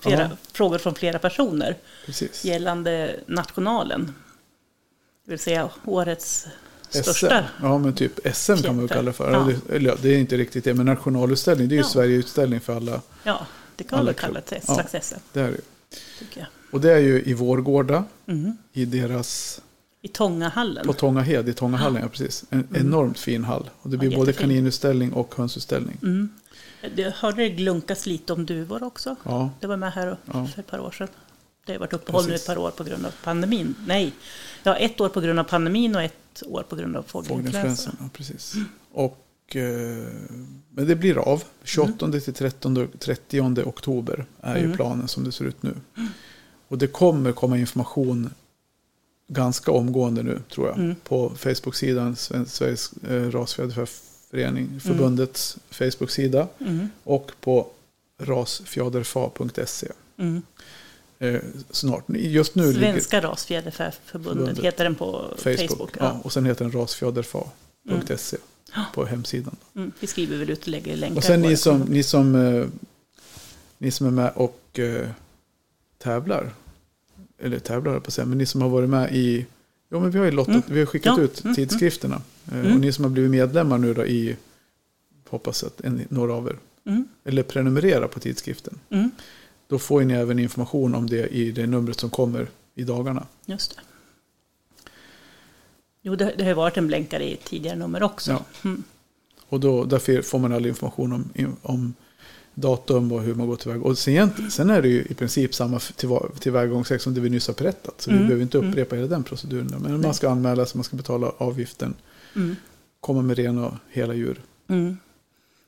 Speaker 1: flera,
Speaker 2: Ja.
Speaker 1: frågor från flera personer
Speaker 2: Precis.
Speaker 1: gällande nationalen. Det vill säga årets
Speaker 2: SM.
Speaker 1: största.
Speaker 2: Ja, men typ SM kan man ju
Speaker 1: Jätte.
Speaker 2: kalla det för.
Speaker 1: Ja.
Speaker 2: Det, eller ja, det är inte riktigt det, men nationalutställning. Det är ju
Speaker 1: Ja.
Speaker 2: Sverigeutställning för alla.
Speaker 1: Ja, det kan man
Speaker 2: Alla
Speaker 1: väl kalla ett
Speaker 2: klubb.
Speaker 1: slags SM.
Speaker 2: Det är det. ju.
Speaker 1: Tycker jag.
Speaker 2: Och det är ju i Vårgårda,
Speaker 1: Mm.
Speaker 2: i deras
Speaker 1: I Tångahallen.
Speaker 2: På Tångahed i Tångahallen, ja precis. En
Speaker 1: Mm.
Speaker 2: enormt fin hall. Och det blir både
Speaker 1: jättefin.
Speaker 2: kaninutställning och hönsutställning.
Speaker 1: Mm. Det, hörde det glunkas lite om duvor också?
Speaker 2: Ja.
Speaker 1: Det var med här och-
Speaker 2: Ja.
Speaker 1: för ett par år sedan. Det har varit uppehåll nu
Speaker 2: Precis.
Speaker 1: ett par år på grund av pandemin. Nej, ja, ett år på grund av pandemin och ett år på grund av fågelinfluensan.
Speaker 2: Fågelinfluensan, ja precis. Och, eh, men det blir av. 28 till 13, 30 oktober är ju planen som det ser ut nu. Och det kommer komma information ganska omgående nu tror jag. På Facebook-sidan, Sven- Sveriges eh, rasfjäderförening, förbundets Facebook-sida. Och på rasfjäderfa.se. Eh, snart. Just nu ligger
Speaker 1: Mm. Svenska rasfjäderfäförbundet
Speaker 2: Förbundet.
Speaker 1: heter den på Facebook.
Speaker 2: Facebook. ja. och sen heter den rasfjäderfa.se. på hemsidan.
Speaker 1: Mm, vi skriver väl ut och lägger länkar.
Speaker 2: Och sen
Speaker 1: på
Speaker 2: ni
Speaker 1: det.
Speaker 2: som, ni som, eh, ni som är med och eh, tävlar. Eller tävlar höll jag på att säga, men ni som har varit med i... Ja men vi har ju lottat,
Speaker 1: Mm.
Speaker 2: vi har skickat
Speaker 1: Ja.
Speaker 2: ut
Speaker 1: Mm,
Speaker 2: tidskrifterna. Eh,
Speaker 1: Mm.
Speaker 2: Och ni som har blivit medlemmar nu då i, hoppas att en, några av er,
Speaker 1: Mm,
Speaker 2: eller prenumerera på tidskriften.
Speaker 1: mm,
Speaker 2: Då får ju ni även information om det i det numret som kommer i dagarna.
Speaker 1: just det. Jo, det, det har ju varit en blänkare i tidigare nummer också.
Speaker 2: Ja.
Speaker 1: Mm.
Speaker 2: Och då, därför får man all information om, om datum och hur man går tillväga. Och sen, egent- sen är det ju i princip samma f- tillva- tillvägagångssätt som det vi nyss har berättat. Så vi
Speaker 1: Mm,
Speaker 2: behöver inte
Speaker 1: mm.
Speaker 2: upprepa hela den proceduren. Men man ska anmäla sig, man ska betala avgiften,
Speaker 1: Mm.
Speaker 2: komma med rena och hela djur.
Speaker 1: Mm.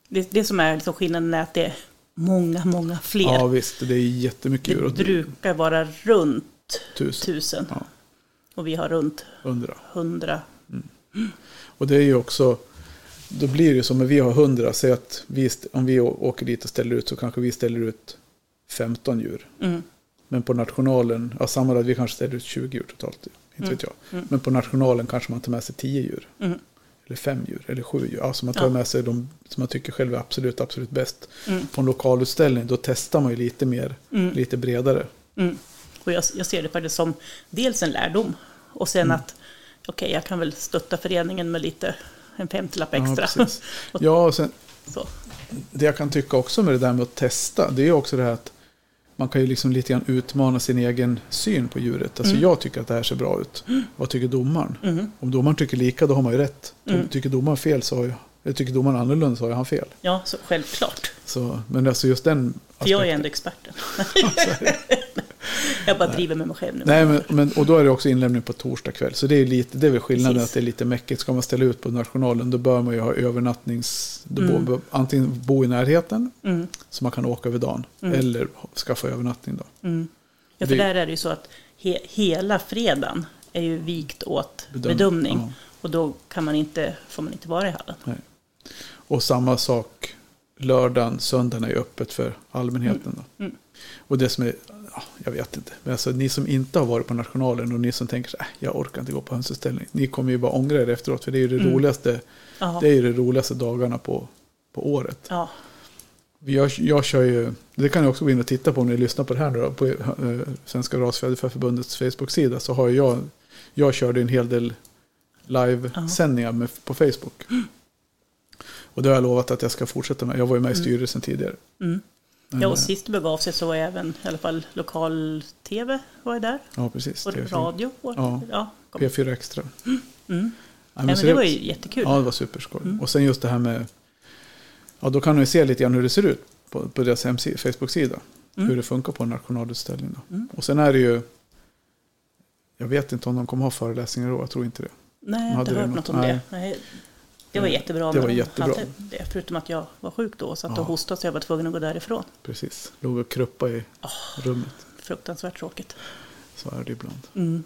Speaker 1: Det, det som är liksom skillnaden är att det är många, många fler.
Speaker 2: Ja visst, det är jättemycket djur.
Speaker 1: det
Speaker 2: Och
Speaker 1: brukar vara runt
Speaker 2: tusen,
Speaker 1: tusen.
Speaker 2: Ja.
Speaker 1: Och vi har runt
Speaker 2: hundra.
Speaker 1: hundra.
Speaker 2: Och det är ju också, då blir det ju som när vi har hundra. Säg att vi, st- om vi å- åker dit och ställer ut så kanske vi ställer ut 15 djur.
Speaker 1: Mm.
Speaker 2: Men på nationalen, ja, sammanlagt, vi kanske ställer ut 20 djur totalt. Inte vet jag. Men på nationalen kanske man tar med sig 10 djur.
Speaker 1: Mm.
Speaker 2: Eller 5 djur, eller 7 djur. Alltså man tar
Speaker 1: Ja.
Speaker 2: med sig de som man tycker själv är absolut, absolut bäst.
Speaker 1: Mm.
Speaker 2: På en lokalutställning, då testar man ju lite mer,
Speaker 1: Mm.
Speaker 2: lite bredare.
Speaker 1: Mm. Och jag, jag ser det faktiskt som dels en lärdom och sen
Speaker 2: Mm.
Speaker 1: att okej, jag kan väl stötta föreningen med lite, en femtiolapp extra.
Speaker 2: Ja, precis. ja och sen,
Speaker 1: så.
Speaker 2: det jag kan tycka också med det där med att testa, det är också det här att man kan ju liksom lite grann utmana sin egen syn på djuret.
Speaker 1: Mm.
Speaker 2: Alltså jag tycker att det här ser bra ut. Vad tycker domaren?
Speaker 1: Mm-hmm.
Speaker 2: Om domaren tycker lika, då har man ju rätt.
Speaker 1: Mm.
Speaker 2: Om Tycker domaren fel så har jag, eller tycker domaren annorlunda så har ju han fel.
Speaker 1: Ja, så självklart.
Speaker 2: Så, men alltså just den
Speaker 1: För jag är ändå experten. jag bara driver med mig själv nu.
Speaker 2: Nej, men, men, och då är det också inlämning på torsdag kväll. Så det är, lite, det är väl skillnaden
Speaker 1: Precis.
Speaker 2: att det är lite mäckigt. Ska man ställa ut på nationalen då bör man ju ha övernattnings... Då bo- bo, antingen bo i närheten
Speaker 1: Mm.
Speaker 2: så man kan åka över dagen. Eller skaffa övernattning då.
Speaker 1: Ja, för
Speaker 2: Det-
Speaker 1: där är det ju så att he, hela fredagen är ju vikt åt
Speaker 2: Bedömning,
Speaker 1: bedömning.
Speaker 2: ja.
Speaker 1: Och då kan man inte, får man inte vara i hallen.
Speaker 2: Och samma sak lördagen, söndagen är öppet för allmänheten. Då. Och det som är, ja, jag vet inte, men alltså ni som inte har varit på nationalen och ni som tänker så här, "Äh, jag orkar inte gå på hönsutställning. Ni kommer ju bara ångra er efteråt för det är ju det roligaste,
Speaker 1: Ja.
Speaker 2: det är ju det roligaste dagarna på, på året.
Speaker 1: Ja,
Speaker 2: Jag, jag kör ju, det kan ni också gå in och titta på om ni lyssnar på det här nu då, på eh, Svenska Rasfjäderfäförbundets Facebook-sida så har jag, jag körde en hel del livesändningar med, på Facebook. Och det har jag lovat att jag ska fortsätta med. Jag var ju med
Speaker 1: Mm.
Speaker 2: i styrelsen tidigare.
Speaker 1: ja och sist det begav sig så var jag även, i alla fall lokal-tv var jag där.
Speaker 2: Ja, precis.
Speaker 1: Och
Speaker 2: TV4.
Speaker 1: radio. Och,
Speaker 2: Ja.
Speaker 1: ja. Ja, kom. Nej,
Speaker 2: P4 Extra. Nej,
Speaker 1: men
Speaker 2: så
Speaker 1: det var ju jättekul.
Speaker 2: Ja, det var superskoj.
Speaker 1: Mm.
Speaker 2: Och sen just det här med... Ja, då kan ni se lite grann hur det ser ut på, på deras hemsi- Facebook-sida.
Speaker 1: Mm.
Speaker 2: Hur det funkar på en nationalutställning. Då. Och sen är det ju... Jag vet inte om de kommer ha föreläsningar då, jag tror inte det.
Speaker 1: Nej, jag har
Speaker 2: hade
Speaker 1: inte
Speaker 2: du
Speaker 1: hört
Speaker 2: något?
Speaker 1: något om
Speaker 2: Nej.
Speaker 1: det. Nej. Det var jättebra.
Speaker 2: Det
Speaker 1: men
Speaker 2: var
Speaker 1: de
Speaker 2: jättebra.
Speaker 1: hade Det, förutom att jag var sjuk då, så att
Speaker 2: Ja.
Speaker 1: jag hostade så jag var tvungen att gå därifrån.
Speaker 2: Precis, låg och kruppa i rummet.
Speaker 1: Fruktansvärt tråkigt.
Speaker 2: Så är det ibland.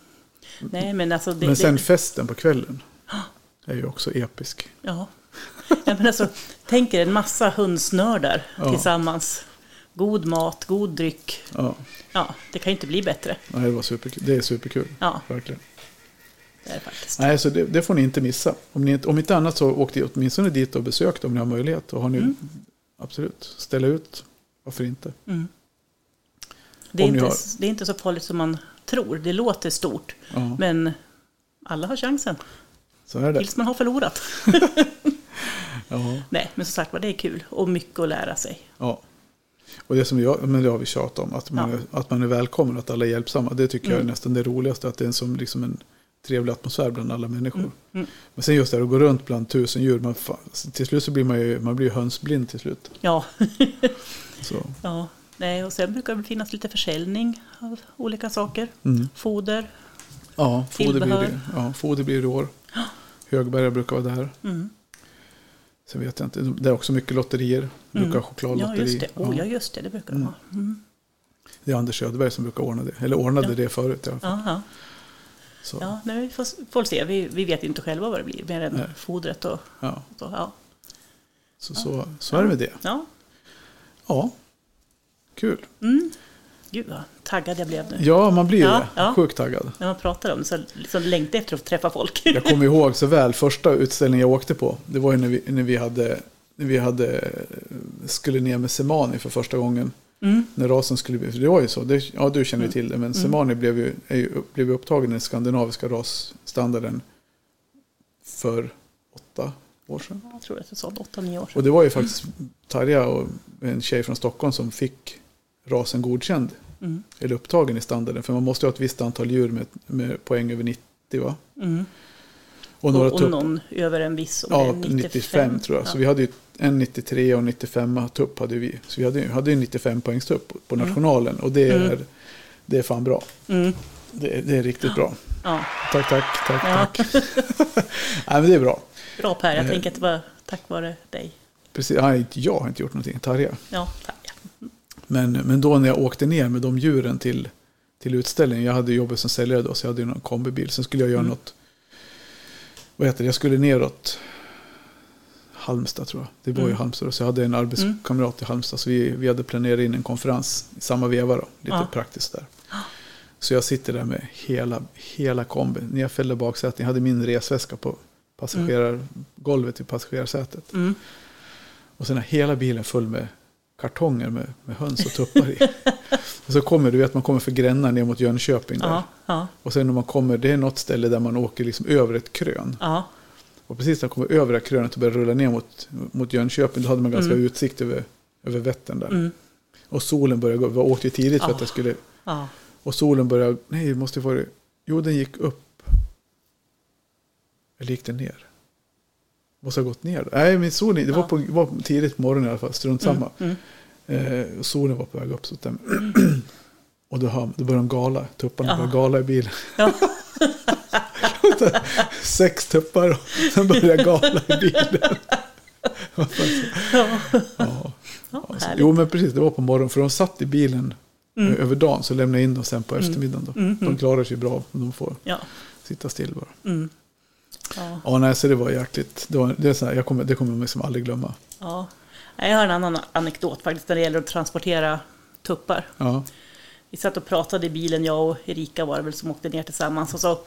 Speaker 1: Nej, men alltså... Det,
Speaker 2: Men sen
Speaker 1: det,
Speaker 2: festen på kvällen är ju också episk.
Speaker 1: ja. ja, men alltså, tänk er en massa hundsnördar
Speaker 2: Ja.
Speaker 1: tillsammans. God mat, god dryck.
Speaker 2: Ja,
Speaker 1: Ja, det kan ju inte bli bättre.
Speaker 2: nej, det, var superkul. det är superkul.
Speaker 1: Ja.
Speaker 2: Verkligen.
Speaker 1: Det är det faktiskt.
Speaker 2: Nej, så det, det får ni inte missa. Om, ni, inte- om inte annat så åk di- åtminstone dit och besök om ni har möjlighet. Och har ni, Absolut, ställa ut. Varför inte?
Speaker 1: Det är,
Speaker 2: Om ni
Speaker 1: inte,
Speaker 2: har-
Speaker 1: det är inte så farligt som man tror. Det låter stort,
Speaker 2: Ja.
Speaker 1: men alla har chansen.
Speaker 2: Så är det.
Speaker 1: Tills man har förlorat.
Speaker 2: Ja.
Speaker 1: Nej, men som sagt var, det är kul och mycket att lära sig.
Speaker 2: ja. Och det som jag, men det har vi tjatat om, att man,
Speaker 1: Ja.
Speaker 2: är, att man är välkommen, att alla är hjälpsamma. Det tycker jag är nästan det roligaste, att det är en, som, liksom en trevlig atmosfär bland alla människor. Men sen just det här att gå runt bland tusen djur, man, fan, till slut så blir man ju man blir ju hönsblind till slut.
Speaker 1: Ja,
Speaker 2: Så,
Speaker 1: ja. Nej, och sen brukar det finnas lite försäljning av olika saker.
Speaker 2: Mm.
Speaker 1: Foder.
Speaker 2: ja, foder blir det,
Speaker 1: Tillbehör.
Speaker 2: ja, foder blir det i år. Högberga brukar vara där.
Speaker 1: Mm.
Speaker 2: Sen vet jag inte, det är också mycket lotterier. Brukar ha
Speaker 1: Mm. Ja,
Speaker 2: chokladlotteri.
Speaker 1: just det. Oh, ja,
Speaker 2: Ja. Mm.
Speaker 1: just det. Det brukar de ha.
Speaker 2: Det är Anders Söderberg som brukar ordna det, eller ordnade det förut i alla fall.
Speaker 1: Aha.
Speaker 2: Så,
Speaker 1: Ja, nej, vi får, får se. Vi, vi vet inte själva vad det blir, mer än
Speaker 2: Nej.
Speaker 1: fodret och
Speaker 2: ja.
Speaker 1: så. Ja.
Speaker 2: Så, så, så är det med det.
Speaker 1: ja.
Speaker 2: Ja, kul.
Speaker 1: Gud vad taggad jag blev nu.
Speaker 2: Ja, man blir
Speaker 1: Ja,
Speaker 2: det.
Speaker 1: ja.
Speaker 2: Sjukt taggad.
Speaker 1: När man pratar om det så liksom längtar jag efter att få träffa folk.
Speaker 2: Jag kommer ihåg så väl första utställningen jag åkte på. Det var ju när vi, när vi, hade, när vi hade, skulle ner med Semani för första gången.
Speaker 1: Mm.
Speaker 2: När rasen skulle bli, för det var ju så, det, ja du känner ju till det, men Semani blev ju, är ju upp- blev ju upptagen i den skandinaviska rasstandarden för åtta år sedan.
Speaker 1: Jag tror att jag sa 8-9 år sedan.
Speaker 2: Och det var ju faktiskt Tarja och en tjej från Stockholm som fick rasen godkänd.
Speaker 1: Mm.
Speaker 2: Eller upptagen i standarden. För man måste ju ha ett visst antal djur med, med poäng över 90 va?
Speaker 1: Mm.
Speaker 2: Och några
Speaker 1: Och, och
Speaker 2: tupp.
Speaker 1: någon över en viss om
Speaker 2: Ja,
Speaker 1: det är
Speaker 2: 95, tror jag. Så vi hade ju en 93 och en 95 tupp hade vi. Så vi hade, ju- hade ju en 95 poängstupp på nationalen. Och det är,
Speaker 1: Mm.
Speaker 2: det är fan bra.
Speaker 1: Mm.
Speaker 2: Det, det är riktigt bra.
Speaker 1: Ja,
Speaker 2: Tack, tack, tack,
Speaker 1: Ja.
Speaker 2: tack. Nej men det är bra.
Speaker 1: bra Per, jag
Speaker 2: Eh.
Speaker 1: tänker att det var tack vare dig.
Speaker 2: Precis, nej, jag har inte gjort någonting, Tarja.
Speaker 1: Ja, tack.
Speaker 2: Men, men då när jag åkte ner med de djuren till, till utställningen, jag hade jobbat som säljare då, så jag hade ju någon kombibil. Sen skulle jag göra något, vad heter det, jag skulle neråt Halmstad tror jag. Det var ju Halmstad då, så jag hade en arbetskamrat i Halmstad. Så vi, vi hade planerat in en konferens i samma veva då, lite
Speaker 1: Ja.
Speaker 2: praktiskt där. Så jag sitter där med hela, hela kombin, nedfällda baksäten. Jag hade min resväska på passagerargolvet i passagerarsätet.
Speaker 1: Mm.
Speaker 2: Och sen är hela bilen full med kartonger med, med höns och tuppar i. och så kommer du vet man kommer för Gränna ner mot Jönköping. Där.
Speaker 1: Ja, ja,
Speaker 2: Och sen när man kommer, det är något ställe där man åker liksom över ett krön.
Speaker 1: ja.
Speaker 2: Och precis när man kommer över det här krönet och börjar rulla ner mot, mot Jönköping, då hade man ganska utsikt över, över Vättern där.
Speaker 1: Mm.
Speaker 2: Och solen började gå, vi åkte ju tidigt för
Speaker 1: Ja.
Speaker 2: att jag skulle...
Speaker 1: ja.
Speaker 2: Och solen började, nej det måste ju vara Jo den gick upp. Eller gick den ner? Måste ha gått ner. Nej men solen, det var,
Speaker 1: Ja.
Speaker 2: på, var tidigt på morgonen i alla fall, strunt samma.
Speaker 1: Mm.
Speaker 2: Eh, och solen var på väg upp. Så att den, och då, hör, då började de gala. Tupparna
Speaker 1: Ja.
Speaker 2: började gala i bilen.
Speaker 1: Ja.
Speaker 2: Sex tuppar och sen började gala i bilen. ja.
Speaker 1: Ja,
Speaker 2: Ja, så-
Speaker 1: härligt.
Speaker 2: jo men precis, det var på morgonen. För de satt i bilen
Speaker 1: Mm.
Speaker 2: eh, över dagen. Så lämnade jag in dem sen på eftermiddagen. Då. De klarar sig bra om de får
Speaker 1: Ja.
Speaker 2: sitta still bara.
Speaker 1: Mm. Ja,
Speaker 2: Ja, nej, så det var jäkligt. Det, var, det, är så här, jag kommer, det kommer jag liksom aldrig glömma.
Speaker 1: ja. Jag har en annan anekdot faktiskt när det gäller att transportera tuppar.
Speaker 2: Ja,
Speaker 1: Vi satt och pratade i bilen, jag och Erika var det väl som åkte ner tillsammans. Och så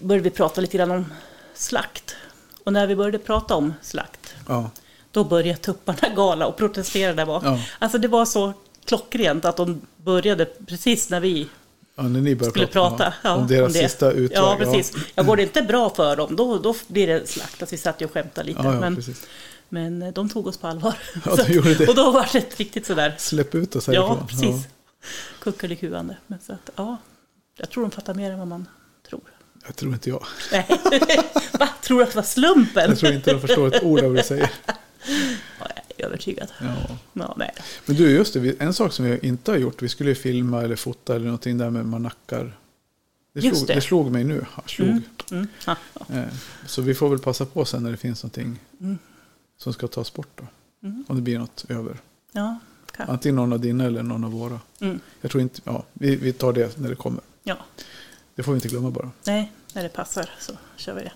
Speaker 1: började vi prata lite grann om slakt. Och när vi började prata om slakt,
Speaker 2: ja,
Speaker 1: då började tupparna gala och protestera där bak.
Speaker 2: Ja.
Speaker 1: Alltså det var så klockrent att de började precis när vi
Speaker 2: ja när ni började
Speaker 1: skulle
Speaker 2: prata,
Speaker 1: prata ja,
Speaker 2: om deras
Speaker 1: det.
Speaker 2: sista utväg.
Speaker 1: Ja, precis. Jag går det inte bra för dem, då, då blir det slakt. Alltså, vi satt ju och skämtade lite.
Speaker 2: Ja, ja,
Speaker 1: men,
Speaker 2: precis.
Speaker 1: men eh, de tog oss på allvar.
Speaker 2: Ja,
Speaker 1: Så
Speaker 2: de gjorde det.
Speaker 1: Och då var det riktigt sådär,
Speaker 2: Släpp ut oss härifrån.
Speaker 1: ja precis, kuckelikuande. Men så att, ja, jag tror de fattar mer än vad man tror.
Speaker 2: Ja, jag tror inte jag.
Speaker 1: Nej, va? Tror du att det var slumpen?
Speaker 2: Jag tror inte de förstår ett ord av vad du säger.
Speaker 1: Ja, jag är övertygad.
Speaker 2: Ja.
Speaker 1: Ja, nej.
Speaker 2: Men du, just det, vi- en sak som vi inte har gjort, vi skulle ju filma eller fota eller någonting där med manackar. Det
Speaker 1: Just
Speaker 2: slog,
Speaker 1: det.
Speaker 2: det. slog mig nu. Ja, Slog.
Speaker 1: Mm. Ja, ja.
Speaker 2: Eh, Så vi får väl passa på sen när det finns någonting
Speaker 1: Mm.
Speaker 2: som ska tas bort då. Om det blir något över.
Speaker 1: ja, kanske.
Speaker 2: Antingen någon av dina eller någon av våra.
Speaker 1: Mm.
Speaker 2: Jag tror inte, ja, vi, vi tar det när det kommer.
Speaker 1: Ja.
Speaker 2: Det får vi inte glömma bara.
Speaker 1: Nej, när det passar så kör vi det.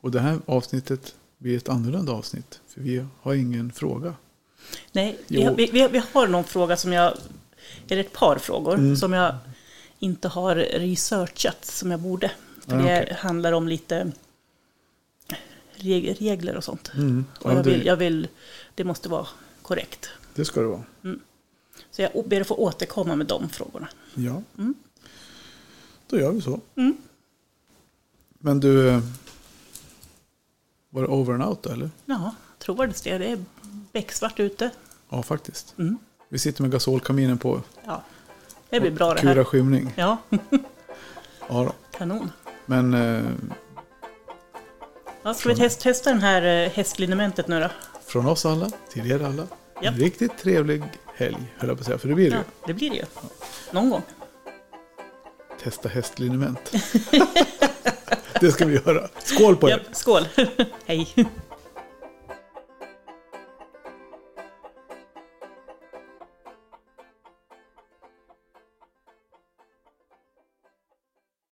Speaker 2: Och det här avsnittet blir ett annorlunda avsnitt. För vi har ingen fråga.
Speaker 1: Nej, vi,
Speaker 2: Jo.
Speaker 1: har- vi, vi, vi har någon fråga som jag, eller ett par frågor
Speaker 2: Mm.
Speaker 1: som jag inte har researchat som jag borde. För
Speaker 2: Ah,
Speaker 1: det
Speaker 2: okej.
Speaker 1: handlar om lite reg- regler och sånt.
Speaker 2: Mm.
Speaker 1: Och
Speaker 2: Ja,
Speaker 1: jag
Speaker 2: det-
Speaker 1: vill, jag vill, det måste vara korrekt.
Speaker 2: Det ska det vara.
Speaker 1: Så jag ber att få återkomma med de frågorna.
Speaker 2: Ja.
Speaker 1: Mm.
Speaker 2: Då gör vi så. Men du, eh, var det over and out då, eller?
Speaker 1: Ja, trovärdigt det. Det är becksvart ute.
Speaker 2: Ja, faktiskt.
Speaker 1: Mm.
Speaker 2: Vi sitter med gasolkaminen på
Speaker 1: Ja, det blir bra det
Speaker 2: kura
Speaker 1: här.
Speaker 2: skymning.
Speaker 1: Ja,
Speaker 2: Ja, då.
Speaker 1: kanon.
Speaker 2: Men eh,
Speaker 1: Ja, ska vi test, testa den här eh, hästlinementet nu då?
Speaker 2: från oss alla till er alla, en
Speaker 1: Japp.
Speaker 2: riktigt trevlig helg, höll jag på att säga. För det blir det
Speaker 1: Ja,
Speaker 2: ju.
Speaker 1: det blir det ju. Någon gång.
Speaker 2: Testa hästliniment. det ska vi göra. Skål på er!
Speaker 1: Japp, skål! Hej!